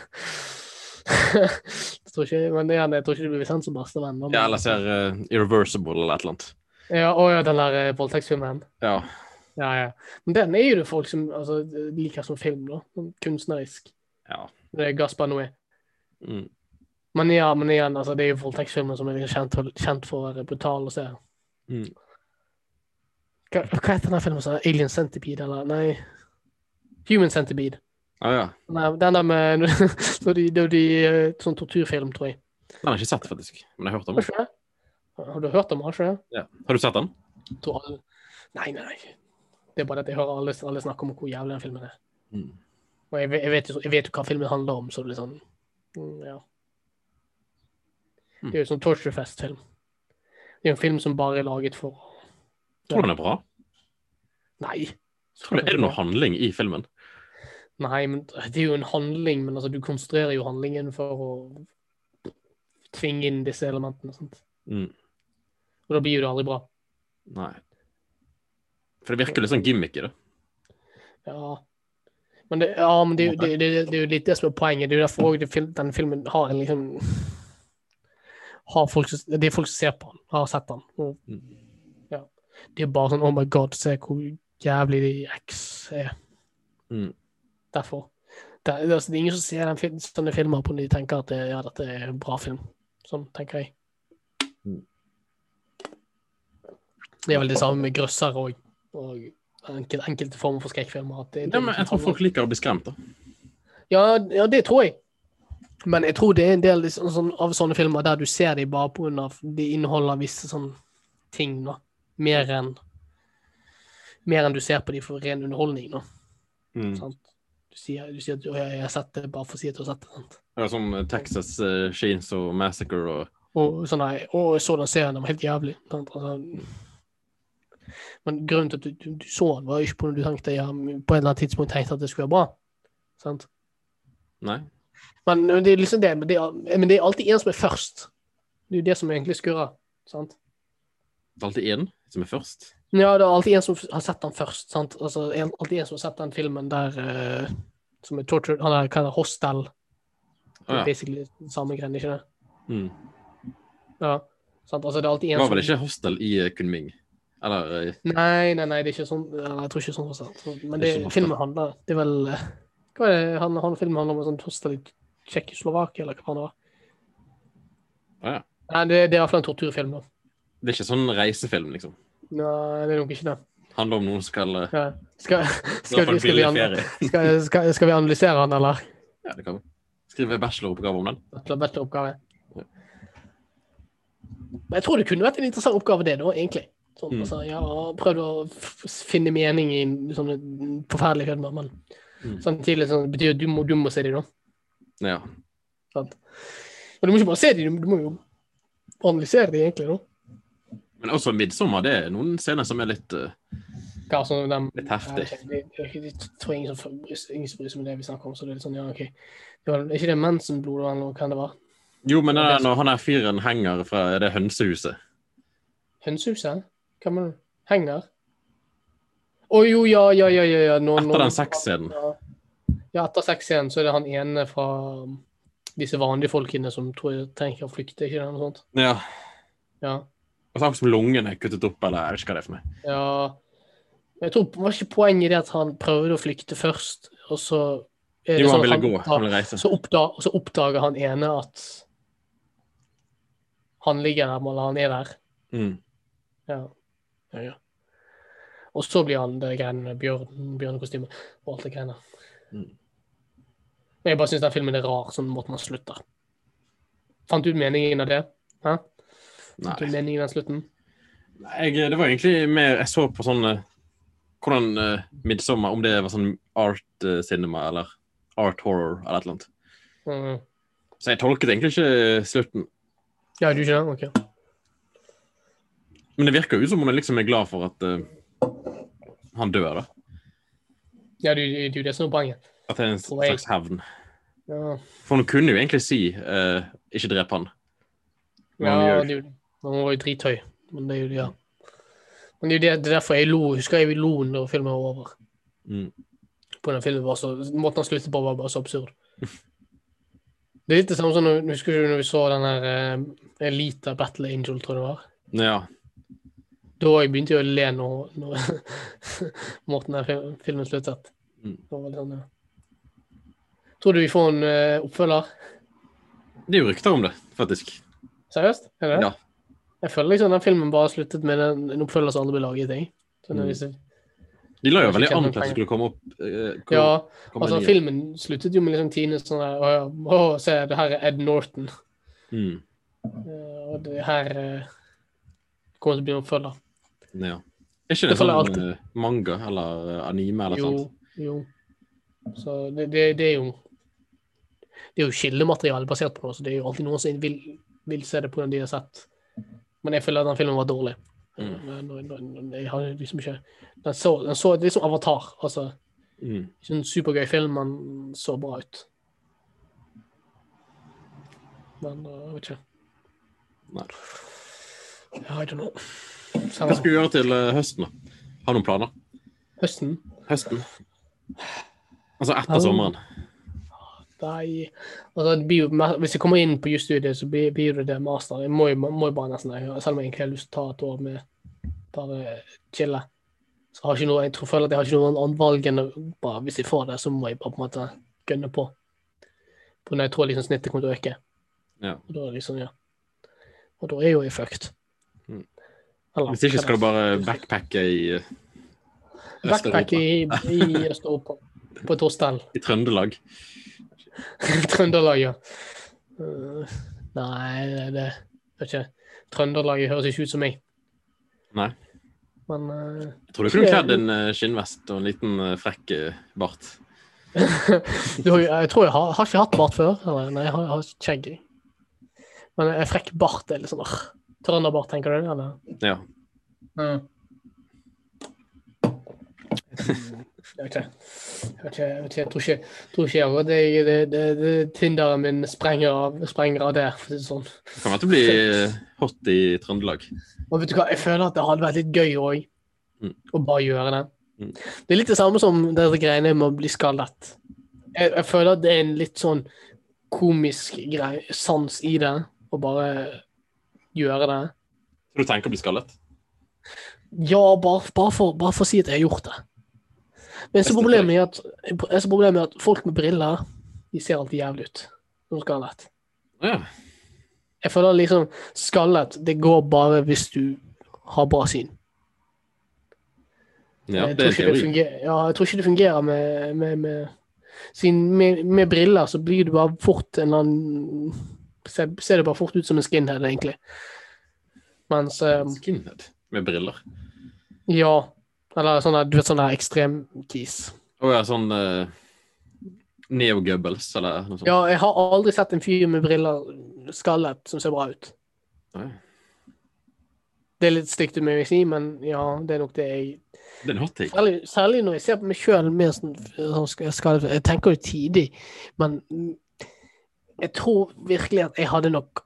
S1: jeg tror ikke, Men igjen, jeg tror ikke du blir sendt som bestevenn. men-
S2: ja, eller ser eh, Irreversible eller et eller annet.
S1: Ja, å ja, den der eh, voldtektsfilmen.
S2: Ja.
S1: Ja, ja. Men den er jo det folk som altså, liker som film, da. Sånn Kunstnerisk.
S2: ja.
S1: Det er Gaspar Noé.
S2: Mm.
S1: Men ja, men igjen, altså, det er jo voldtektsfilmer som er liksom kjent, for- kjent for å være brutale å se.
S2: Mm.
S1: Hva, hva heter den filmen? Sånn, Alien Centipede, eller? Nei. Human Centipede.
S2: Ah, ja.
S1: Nei, den der med så de, de, de, eh, Sånn torturfilm, tror jeg.
S2: Den har jeg ikke sett, faktisk. Men jeg har hørt om
S1: Har du
S2: den.
S1: ikke det? Har du hørt om den? Har du ikke det?
S2: Ja. Har du sett den?
S1: Jeg Tror alle... Nei, nei, nei. Det er bare det at jeg hører alle, alle snakke om hvor jævlig den filmen er.
S2: Mm.
S1: Og jeg, ve- jeg, vet, jo- jeg vet jo hva filmen handler om, så det er sånn mm, Ja.
S2: Mm.
S1: Det er jo sånn Torturefest-film. Det er jo en film som bare er laget for
S2: Tror du den er bra?
S1: Nei.
S2: Tror du, er det noe handling i filmen?
S1: Nei, men det er jo en handling, men altså, du konstruerer jo handlingen for å tvinge inn disse elementene. Sant?
S2: Mm.
S1: Og da blir jo det aldri bra.
S2: Nei. For det virker litt sånn gimmick i det.
S1: Ja. Men det, ja, men det, det, det, det er jo litt det som er poenget. Det er jo derfor også det fil- den filmen har en liksom har folk, som- Det er folk som ser på den, har sett den. Og,
S2: Mm.
S1: ja. Det er bare sånn Oh my God, se hvor jævlig de X er.
S2: Mm.
S1: Derfor. Det, det, er- altså, det er ingen som ser den, fil- sånne filmer på når de tenker at det, ja, dette er en bra film. Sånn tenker jeg.
S2: Mm.
S1: Det er vel det samme med grøsser òg. Og enkel, enkelte former for skrekkfilmer. at det- det
S2: Ja, men jeg tror folk liker å bli skremt, da.
S1: ja, ja, det tror jeg. Men jeg tror det er en del liksom, sånn, av sånne filmer der du ser dem bare på grunn av de inneholder visse sånn ting, da. Mer enn mer enn du ser på dem for ren underholdning, da.
S2: Mm.
S1: Sant? Du sier, du sier at «Å, jeg jeg har sett det bare for å si at du har sett det. Sant?
S2: Ja, som eh, Texas uh, Sheens og Massacre og
S1: Og sånn nei, å, jeg så den serien, den var helt jævlig. Sant? Altså, men grunnen til at du, du, du så den, var jo ikke på når du tenkte ja, men på et eller annet tidspunkt tenkte at det skulle være bra. Sant?
S2: Nei.
S1: Men det er liksom det, men det er, men det er alltid en som er først. Det er jo det som egentlig skurrer. sant?
S2: Det er alltid én som er først.
S1: Ja, det er alltid en som har sett den først. sant? Altså, en- Alltid en som har sett den filmen der eh, som er tortured Han er hva er det, hostel. Det
S2: Å
S1: er
S2: ja.
S1: basically samme greien, ikke det?
S2: Mm.
S1: Ja, sant? Altså, det er alltid
S2: Det
S1: en
S2: var
S1: som
S2: vel ikke Hostel i eh, Kunming? Eller eh,
S1: Nei, nei, nei, det er ikke sånn. Eller, jeg tror ikke sånn hostel. Så- Men
S2: Det er
S1: det,
S2: ikke hostel.
S1: filmen handler Det er vel eh, Hva er det han, han filmen handler om? En sånn hostel i Tsjekkoslovakia, eller hva faen det var?
S2: Å ja.
S1: Nei, det, det er iallfall en torturfilm, da.
S2: Det er ikke sånn reisefilm, liksom.
S1: Nei, det er nok ikke det.
S2: Handler om noen som skal eh,
S1: Ja. Skal,
S2: dra
S1: skal,
S2: på
S1: vi- skal
S2: en
S1: vi
S2: billig
S1: an-
S2: ferie.
S1: Skal, skal, skal vi analysere han, eller?
S2: Ja, det kan vi. Skrive bacheloroppgave om den.
S1: Bachelor, bacheloroppgave. Men jeg tror det kunne vært en interessant oppgave, det, da, egentlig. Sånn,
S2: Mm.
S1: altså, ja, prøvd å f- finne mening i sånne forferdelige filmer, men
S2: Mm.
S1: samtidig sånn, det betyr at du må, du må se dem, da.
S2: Ja.
S1: Sant? Og du må ikke bare se dem, du må jo analysere dem, egentlig. Da.
S2: Men også 'Midtsommer' det er noen scener som er litt eh,
S1: Hva, sånn, dem,
S2: Litt heftig.
S1: Ja, det, det, det, det tror jeg ingen som bryr seg- ingen som bryr seg om det vi snakker om, så det er litt sånn, ja, OK. Det var, er ikke det mensenblod eller noe, kan det være?
S2: Jo, men det er når han her fyren henger fra det hønsehuset
S1: Hønsehuset? Hva mener du? Henger? Å jo, ja, ja, ja. ja, ja. Nå,
S2: Etter
S1: nå-
S2: den sexscenen.
S1: Ja. Ja, etter sexscenen så er det han ene fra um, disse vanlige folkene som tror jeg trenger å flykte, ikke det? Noe sånt.
S2: Ja.
S1: Ja.
S2: Og så har han som lungen er kuttet opp, eller jeg vet ikke hva det er for noe.
S1: ja. Jeg tror var ikke poenget i det at han prøvde å flykte først, og så er det
S2: Jo, han
S1: sånn at
S2: ville gå. Han
S1: oppdager-
S2: ville reise.
S1: så, oppdag, så oppdager han ene at han ligger der, eller han er der.
S2: Mm.
S1: Ja. ja, ja. Og så blir han det greiene med bjørn, bjørnekostyme og alt det greiene.
S2: Mm.
S1: Men jeg bare syns den filmen er rar, sånn måten han slutter. Fant du ut meningen av det? Hæ? Fant du
S2: Nei.
S1: meningen av den slutten?
S2: Jeg, det var egentlig mer Jeg så på sånn eh, Hvordan uh, 'Midtsommer' Om det var sånn art eh, cinema eller art horror eller et eller annet.
S1: Mm.
S2: Så jeg tolket egentlig ikke eh, slutten.
S1: Ja, du ikke det? OK.
S2: Men det virker jo som hun er liksom er glad for at eh, han dør, da.
S1: Ja, du, du, det er det som er poenget.
S2: At det er en
S1: Tror jeg.
S2: slags hevn.
S1: Ja,
S2: For hun kunne jo egentlig si eh, 'ikke drep han'. Men
S1: ja
S2: han gjør
S1: det, er jo- han var jo drithøy, men det er jo det, ja. Men det er jo det, det er derfor jeg lo. Husker jeg lo når filmen var over.
S2: Mm.
S1: på den filmen var så Måten han sluttet på, var bare så absurd. Det er litt det samme som når, husker du når vi så den her eh, Elita Battle Angel, tror jeg det var.
S2: Ja.
S1: Da jeg begynte jeg å le når, når Morten her fil- filmen sluttet.
S2: Mm.
S1: Det var litt sånn, ja. Tror du vi får en eh, oppfølger?
S2: Det er jo rykter om det, faktisk.
S1: Seriøst? Er det? det?
S2: Ja.
S1: Jeg føler liksom den filmen bare sluttet med en, en oppfølger som aldri ble laget. Jeg. Sånn,
S2: Mm.
S1: hvis-
S2: De la jo
S1: Kanskje
S2: veldig an
S1: tjener
S2: til at det skulle komme opp eh, kom-
S1: Ja,
S2: komme
S1: altså
S2: nye.
S1: Filmen sluttet jo med liksom Tine sånn der Å, ja, å, se, det her er Ed Norton.
S2: Mm.
S1: Eh, og det her eh, kommer til å bli en oppfølger.
S2: Ja. Er ikke det,
S1: Det føler jeg
S2: sånn eh, manga eller eh, anime eller
S1: Jo,
S2: noe sånt?
S1: jo. Så det, det, det er jo Det er jo kildemateriale basert på noe, så det er jo alltid noen som vil, vil se det på den de har sett. Men jeg føler at den filmen var dårlig.
S2: Mm.
S1: Men- men- men- men Jeg har liksom ikke Den så, den så litt som Avatar. Altså,
S2: Mm.
S1: ikke en supergøy film, men så bra ut. Men eh, jeg vet ikke.
S2: Nei.
S1: I don't know. Så,
S2: Hva skal vi gjøre til eh, høsten, da? Har noen planer?
S1: høsten
S2: Høsten? Altså etter
S1: Ja.
S2: sommeren.
S1: Nei, altså det blir jo, mer- Hvis jeg kommer inn på jusstudiet, så blir, blir det det master. Jeg må jo, må jo bare nesten det, selv om jeg egentlig har lyst til å ta et år med bare chille. Så har jeg ikke noe, jeg tror føler at jeg har ikke noe annet valg enn å bare Hvis jeg får det, så må jeg bare på en måte gønne på. For når jeg tror liksom snittet kommer til å øke.
S2: Ja.
S1: Og da er det liksom, ja. Og da er jo jeg fucked.
S2: Mm.
S1: Eller,
S2: Hvis ikke skal du bare
S1: hva da?
S2: backpacke i eh,
S1: Backpack
S2: Øst-Europa.
S1: i, i Øst-Europa. På et hostell.
S2: I Trøndelag.
S1: Trøndelag, ja. Eh, nei, det, det vet ikke. Trøndelag høres ikke ut som meg.
S2: Nei.
S1: Men eh,
S2: Jeg tror du kunne kledd en eh, skinnvest og en liten eh, frekk eh, bart.
S1: du, har jo- jeg tror jeg har, har ikke hatt bart før. Eller, nei, jeg har, jeg har skjegg. jeg. Men en frekk bart er litt sånn arr. Trønderbart, tenker du? Eller?
S2: Ja.
S1: Jeg vet ikke. Jeg, vet ikke, jeg, vet ikke, jeg tror ikke, jeg tror ikke jeg, og det, det, det, det, Tinderen min sprenger av, sprenger av det, for å si det sånn.
S2: Det kan være at det blir eh, hot i Trøndelag.
S1: Og vet du hva, jeg føler at det hadde vært litt gøy òg.
S2: Mm.
S1: Å bare gjøre det.
S2: Mm.
S1: Det er litt det samme som disse greiene med å bli skallet. Jeg, jeg føler at det er en litt sånn komisk grei, sans i det, å bare gjøre det.
S2: Så du tenker å bli skallet?
S1: Ja, bare, bare, for, bare for å si at jeg har gjort det. Men så
S2: Beste
S1: problemet er at, jeg så problemet er at folk med briller, de ser alltid jævlig ut. Når de er skallet.
S2: Ja.
S1: Jeg føler liksom skallet, det går bare hvis du har bra syn.
S2: ja
S1: jeg,
S2: det
S1: tror
S2: er
S1: ikke
S2: en
S1: det
S2: teori.
S1: fungerer, ja, jeg tror ikke det fungerer med, med, med Siden med, med briller så blir du bare fort en eller annen Ser, ser det bare fort ut som en skinhead, egentlig. Mens eh,
S2: Skinhead. med briller.
S1: Ja. Eller sånne, du vet sånn sånne ekstremkis.
S2: Og er sånn eh, Neo Goebbels eller noe sånt.
S1: Ja, jeg har aldri sett en fyr med briller skallet som ser bra ut.
S2: Nei.
S1: Det er litt stygt, må jeg si, men ja, det er nok det jeg
S2: Det er en hot take.
S1: Særlig, særlig når jeg ser på meg sjøl mer sånn, sånn sk- skadet Jeg tenker jo tidlig, men mm, jeg tror virkelig at jeg hadde nok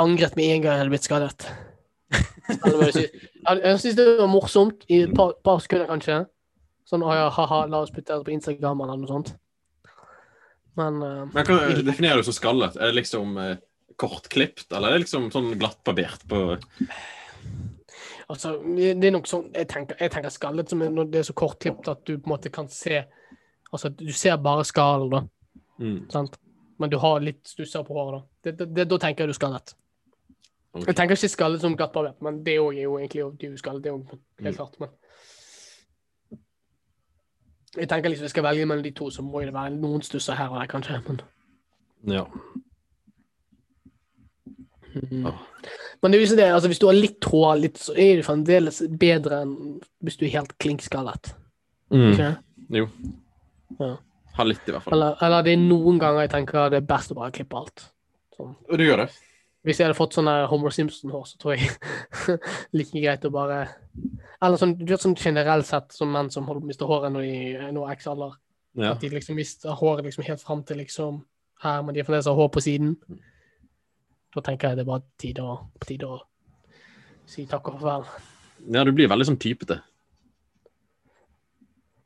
S1: angret med en gang jeg hadde blitt skadet. Eller hva jeg sier. Jeg hadde- jeg syntes det var morsomt i et par, par sekunder, kanskje. Sånn å ja, ha-ha, la oss putte det på Instagram eller noe sånt. Men eh,
S2: Men hva definerer du som skallet? Er det liksom eh, kortklipt, eller er det liksom sånn glattbarbert på
S1: Altså, det det er nok sånn Jeg tenker, jeg tenker skallet som er, når det er så kortklipt at du på en måte kan se Altså, du ser bare skallen, da.
S2: mm.
S1: Sant? Men du har litt stusser på håret, da. Det, det, det, da tenker jeg du skallet.
S2: Ok.
S1: Jeg tenker ikke skallet som glattbarbert, men det òg er jo egentlig jo- det er jo skallet. Det er jo
S2: Mm.
S1: helt klart, men Jeg tenker liksom jeg skal velge mellom de to, så må det være noen stusser her og der, kanskje. Men,
S2: Ja. Ja.
S1: men det er jo ikke det. Altså, hvis du har litt hår, litt, så er det fremdeles bedre enn hvis du er helt klinkskallet.
S2: Mm.
S1: Ikke?
S2: Jo.
S1: Ja.
S2: Ha litt, i hvert fall.
S1: Eller, eller det er noen ganger jeg tenker det er best å bare klippe alt. Sånn.
S2: Og du gjør det?
S1: Hvis jeg hadde fått sånn der Homer Simpson-hår, så tror jeg like greit å bare Eller sånn, du vet sånn generelt sett som menn som holder på å miste håret når de når X-alder.
S2: Ja.
S1: At de liksom mister håret liksom helt fram til liksom her, men de har fremdeles har hår på siden. Da tenker jeg det er bare tid å, på tide å si takk og farvel.
S2: ja, du blir veldig sånn typete.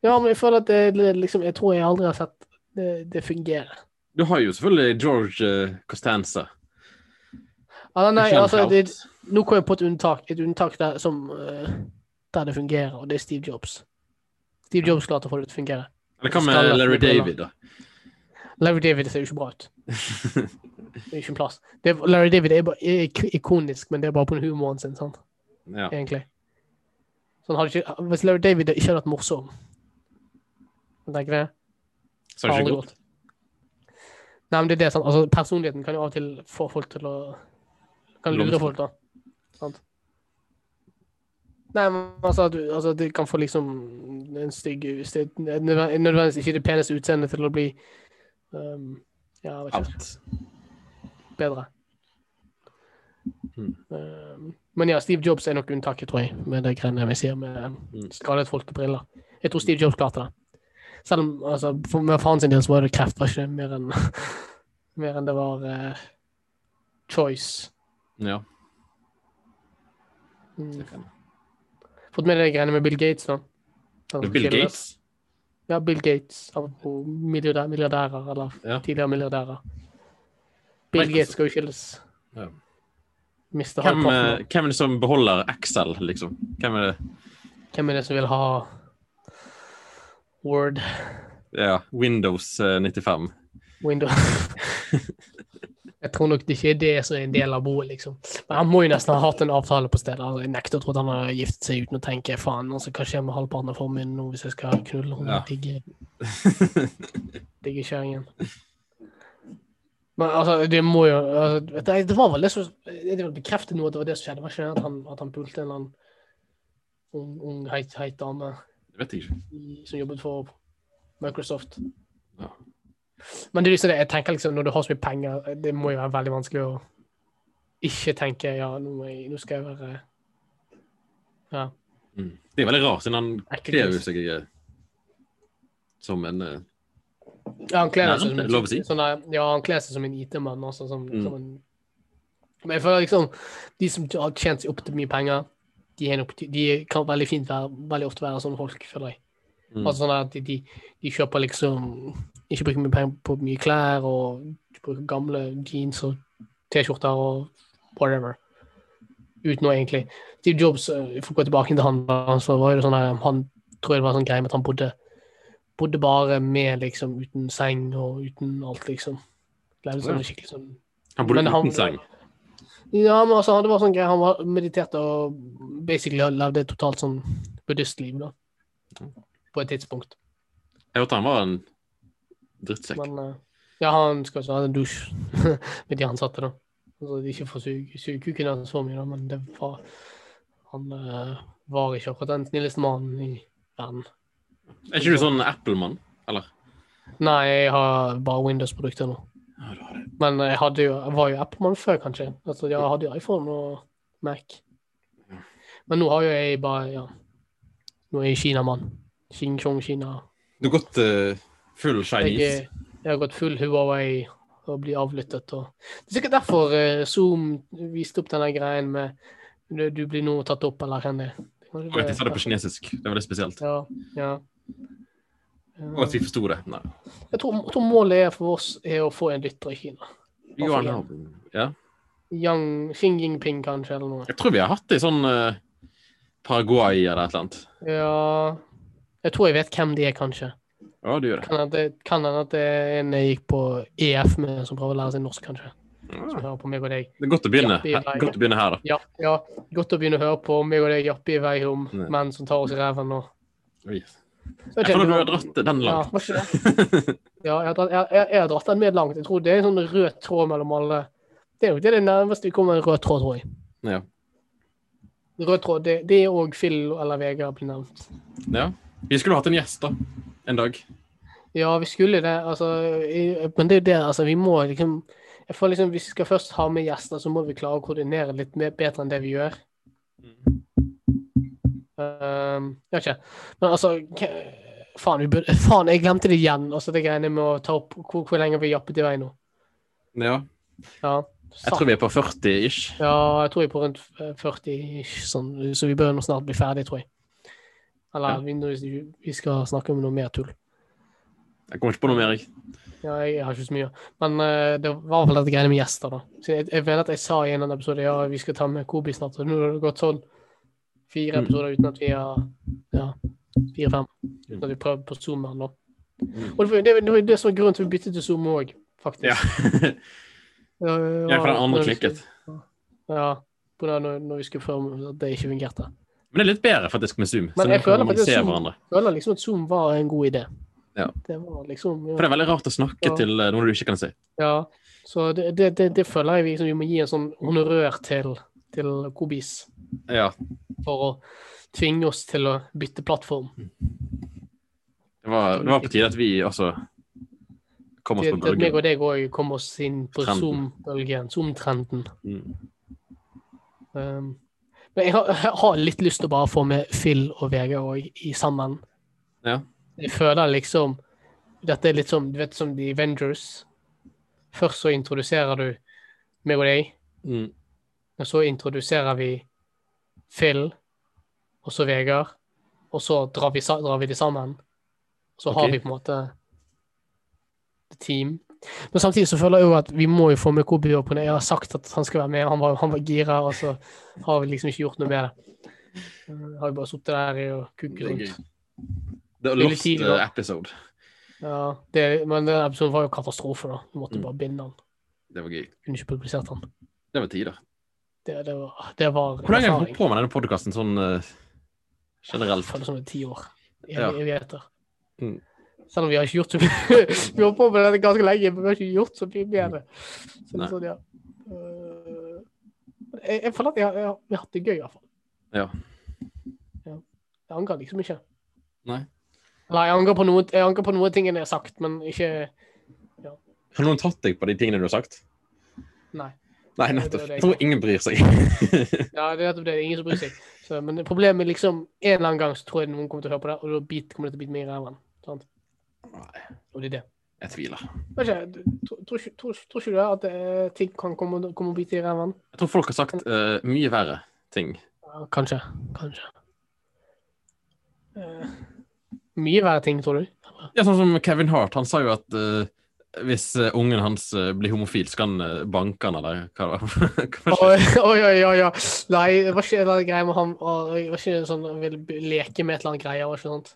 S1: Ja, men jeg føler at det, det liksom Jeg tror jeg aldri har sett det, det fungere.
S2: Du har jo selvfølgelig George eh, Costanza.
S1: Eller nei,
S2: Michelle
S1: altså det,
S2: Pfeiffer.
S1: Nå kom jeg på et unntak, et unntak der, som, eh, der det fungerer, og det er Steve Jobs. Steve Jobs klarte å få det til å fungere.
S2: Eller hva med
S1: Skallet med
S2: Larry
S1: briller.
S2: David, da?
S1: Larry David ser jo ikke bra ut. Det er ikke en plass. Det, er- Larry David er, bare, er ik- ikonisk, men det er bare på humoren sin, sant?
S2: Ja.
S1: egentlig. Så han hadde ikke, hvis Larry David ikke hadde vært morsom Jeg tenker det.
S2: Så er det
S1: Aldri
S2: ikke godt.
S1: gått. Nei, men det er det, sant? Altså, personligheten kan jo av og til få folk til å Kan lure
S2: Blomstre.
S1: folk, da. Sant? Nei, men altså at du altså, at du kan få liksom en stygg stygg- nødvendig- Nødvendigvis ikke det peneste utseendet til å bli um, Ja, jeg vet ikke.
S2: Alt.
S1: Bedre.
S2: Mm.
S1: Um, men ja, Steve Jobs er nok unntaket, tror jeg, med det greiene vi sier med um,
S2: Mm.
S1: skadet folk og briller. Jeg tror Steve Jobs klarte det. Selv om altså, for, med faren sin del så var det kreft, var ikke det mer enn mer enn det var eh, choice.
S2: Ja.
S1: Mm.
S2: det kan jeg.
S1: Fått med deg greiene med Bill Gates, da? Han
S2: Det er Bill
S1: skiller-
S2: Gates?
S1: Ja, Bill Gates. Apropos milliardær, milliardærer, eller
S2: Ja.
S1: tidligere milliardærer. Bill
S2: Microsoft.
S1: Gates skal jo skilles.
S2: Ja.
S1: Mister
S2: Hvem, eh,
S1: halvparten.
S2: hvem er det som beholder Excel, liksom? Hvem er det?
S1: Hvem er det som vil ha Word?
S2: Ja, Windows eh, 95.
S1: Windows. Jeg tror nok det ikke er det som er en del av boet, liksom. Men han må jo nesten ha hatt en avtale på stedet. Altså, jeg nekter å tro at han har giftet seg uten å tenke faen, altså, hva skjer med halvparten av formuen nå hvis jeg skal knulle hun
S2: Ja.
S1: digge, digge kjerringen? Men altså, det må jo altså, vet du, Det var vel det som Det var bekreftet nå at det var det som skjedde, var ikke det? At han, at han pulte en eller annen ung, ung heit, heit dame
S2: Det vet jeg ikke.
S1: i, som jobbet for Microsoft.
S2: Ja.
S1: Men det er liksom det, jeg tenker liksom, når du har så mye penger, det må jo være veldig vanskelig å ikke tenke ja, nå, må jeg, nå skal jeg være ja,
S2: Mm. Det er veldig rart, siden han
S1: Ekkelt.
S2: kler jo seg eh, som en eh,
S1: ja, han kler seg
S2: Nærmt,
S1: som,
S2: lov å si.
S1: sånn der, ja, han kler seg som en IT-mann. Altså, som,
S2: Mm.
S1: som en, men jeg føler liksom de som har tjent seg opp til mye penger, de, er nok, de kan veldig fint være, veldig ofte være sånne folk, føler jeg.
S2: mm.
S1: Altså sånn at de, de, de kjøper liksom Ikke bruker mye penger på mye klær, og de bruker gamle jeans og T-skjorter og whatever. Uten noe, egentlig. Steve Jobs, eh, for å gå tilbake til han, da, så var jo det sånn her, han tror jeg det var sånn greie med at han bodde, bodde bare med, liksom, uten seng og uten alt, liksom. Levde sånn skikkelig sånn
S2: Han bodde
S1: men han-
S2: uten seng.
S1: Ja, men altså, det var sånn greie, han var mediterte og basically levde et totalt sånn buddhistliv, da. På et tidspunkt.
S2: Jeg hørte han var en drittsekk.
S1: Men eh, ja, han skal også ha en dusj med de ansatte, da. Altså, de ikke får suge suge kuken hans for mye, da, men det var Han eh, var ikke akkurat den snilleste mannen i verden.
S2: Er ikke du sånn Apple-mann? Eller?
S1: Nei, jeg har bare Windows-produkter nå.
S2: Ja, du har det.
S1: Men jeg, hadde jo, jeg var jo Apple-mann før, kanskje. Altså, jeg hadde jo iPhone og Mac. Men nå har jo jeg bare ja. Nå er jeg Kina-mann. Xing Chong Kina.
S2: Du har gått eh, full
S1: Jeg,
S2: Chinese.
S1: er- jeg har gått full Huawei og blir avlyttet. Og... Det er sikkert derfor eh, Zoom viste opp denne greien med du, du blir nå tatt opp, eller henne.
S2: Og at de sa det på kinesisk. Det var det spesielt.
S1: Ja, ja. Eh,
S2: Og at vi forsto det. Nei.
S1: Jeg tror, jeg tror målet er for oss er å få en lytter i Kina.
S2: Jo,
S1: Hvorfor
S2: han har- ja.
S1: Yang, Xing Jinping, kanskje, eller noe.
S2: Jeg tror vi har hatt det i sånn eh, Paraguay eller et eller annet.
S1: Ja Jeg tror jeg vet hvem de er, kanskje.
S2: Ja, du gjør det.
S1: Kan hende at det- kan hende at det er en jeg gikk på EF med, som prøver å lære seg norsk, kanskje. Som
S2: Ja.
S1: hører på meg og deg.
S2: Ah. Det er godt å begynne,
S1: Ja, vi er
S2: her, godt å begynne her, da.
S1: Ja, ja. Godt å begynne å høre på meg og deg jappe i vei om
S2: Nei.
S1: menn som tar oss i ræven og
S2: Oi. Jeg føler du har dratt den
S1: Ja,
S2: langt.
S1: var ikke det? Ja, jeg har, dratt, jeg, jeg, jeg har dratt den med langt. Jeg tror det er en sånn rød tråd mellom alle. Det er nok det, er det nærmeste vi kommer en rød tråd, tror jeg.
S2: Ja.
S1: Rød tråd, det, det er òg Phil eller Vegard blir nevnt.
S2: Ja. Vi skulle hatt en gjest da, en dag.
S1: Ja, vi skulle det. Altså, i- men det er jo det, altså. Vi må liksom Jeg føler liksom hvis vi skal først ha med gjester, så må vi klare å koordinere litt mer, bedre enn det vi gjør. Ehm, jeg vet ikke. Men altså hva- Faen, vi burde, faen, jeg glemte det igjen. Altså, det greiene med å ta opp hvor, hvor lenge vi jappet i vei nå.
S2: Ja.
S1: Ja.
S2: Jeg tror vi er på 40-ish.
S1: Ja, jeg tror jeg er på rundt eh, 40, -ish, sånn, så vi bør nå snart bli ferdig, tror jeg. Eller
S2: Ja.
S1: vi, når vi skal snakke om noe mer tull.
S2: Jeg kommer ikke på noe mer. jeg.
S1: Ja, jeg har ikke så mye. Men eh, det var vel dette greiene med gjester, da. Så jeg, jeg mener at jeg sa i en eller annen episode ja, vi skal ta med Kobi snart. Og nå har det gått sånn fire
S2: Mm.
S1: episoder uten at vi har Ja, fire-fem.
S2: Mm.
S1: Uten at vi prøver på Zoom her nå. Og
S2: Mm.
S1: det var- det var- det var jo det som var grunnen til at vi byttet til Zoom òg, faktisk.
S2: Ja.
S1: Ja,
S2: Jeg for den andre klikket.
S1: Ja. På grunn av når, når vi skulle prøve at det ikke fungerte.
S2: Men det er litt bedre faktisk med Zoom. så
S1: Men jeg
S2: nå kan
S1: føler
S2: man
S1: faktisk
S2: se
S1: Zoom-
S2: hverandre.
S1: Jeg føler liksom at Zoom var en god idé.
S2: Ja.
S1: Det var liksom
S2: For det er veldig rart å snakke
S1: Ja.
S2: til eh, noen du ikke kan se.
S1: Ja, så det, det, det, det føler jeg liksom, vi må gi en sånn honorør til, til Kobis
S2: Ja.
S1: for å tvinge oss til å bytte plattform.
S2: Det var, det var på tide at vi også kom oss
S1: Til
S2: på
S1: til at meg
S2: bølgen.
S1: og deg òg kom oss inn på
S2: Trenden.
S1: Zoom-bølgen, Zoom-trenden.
S2: Mm.
S1: Um, men jeg har, jeg har litt lyst til å bare få med Phil og Vegard òg i sammen.
S2: Ja.
S1: Jeg føler liksom Dette er litt som, du vet, som The Avengers. Først så introduserer du meg og deg.
S2: Mm.
S1: Og så introduserer vi Phil, og så Vegard, og så drar vi, sa- drar vi de sammen. Så har
S2: Ok.
S1: vi på en måte et team. Men samtidig så føler jeg jo at vi må jo få med Kobi opp på det. Jeg har sagt at han skal være med, han var, han var gira, og så har vi liksom ikke gjort noe med det. Eh, Har jo bare sittet der i og kukket
S2: Det er gøy.
S1: rundt.
S2: The
S1: litt
S2: Lost
S1: tidlig, da.
S2: eh, episode.
S1: Ja, det, men den episoden var jo katastrofe, da. Vi måtte
S2: Mm.
S1: bare binde den.
S2: Det var gøy.
S1: Kunne ikke publisert den.
S2: Det var tider.
S1: Det, det var, det var
S2: Hvor lenge har du
S1: erfaring.
S2: holdt på med denne podkasten sånn eh, generelt?
S1: føles som det er ti år. Ev
S2: Ja.
S1: Evigheter.
S2: Mm.
S1: Selv om vi har ikke gjort så mye. vi har holdt på med dette ganske lenge, men vi har ikke gjort så mye med det. Så det
S2: Nei.
S1: er sånn, ja. Eh, jeg, jeg føler at jeg, har- jeg, har- vi har hatt det gøy, i hvert fall.
S2: Ja.
S1: Ja. Jeg angrer liksom ikke.
S2: Nei.
S1: Eller jeg angrer på noen, jeg angrer på noen ting jeg har sagt, men ikke
S2: Har noen tatt deg på de tingene du har sagt?
S1: Nei.
S2: Nei,
S1: Det- det-
S2: nettopp.
S1: det-
S2: Jeg tror ingen bryr seg.
S1: Ja, det er nettopp det. Det er ingen som bryr seg. Så, men problemet er liksom En eller annen gang så tror jeg noen kommer til å høre på det, og da bit, kommer det til å bite meg i ræven. Sant?
S2: Nei,
S1: Og det er det.
S2: jeg tviler.
S1: Vet ikke, du- tror- tror ikke- tror- tror ikke du at eh, ting kan komme, komme og bite i ræven?
S2: Jeg tror folk har sagt eh, mye verre ting.
S1: Ja, kanskje. Kanskje. Eh, mye verre ting, tror du?
S2: Ja, sånn som Kevin Hart. Han sa jo at eh, hvis eh, ungen hans eh, blir homofil, skal han eh, banke han, eller hva det var. Hva var.
S1: Oi, oi, oi, oi, oi. Nei, det var ikke en eller annen greie med han oi, det var ikke sånn han ville b- leke med et eller annet greie? var det ikke sant?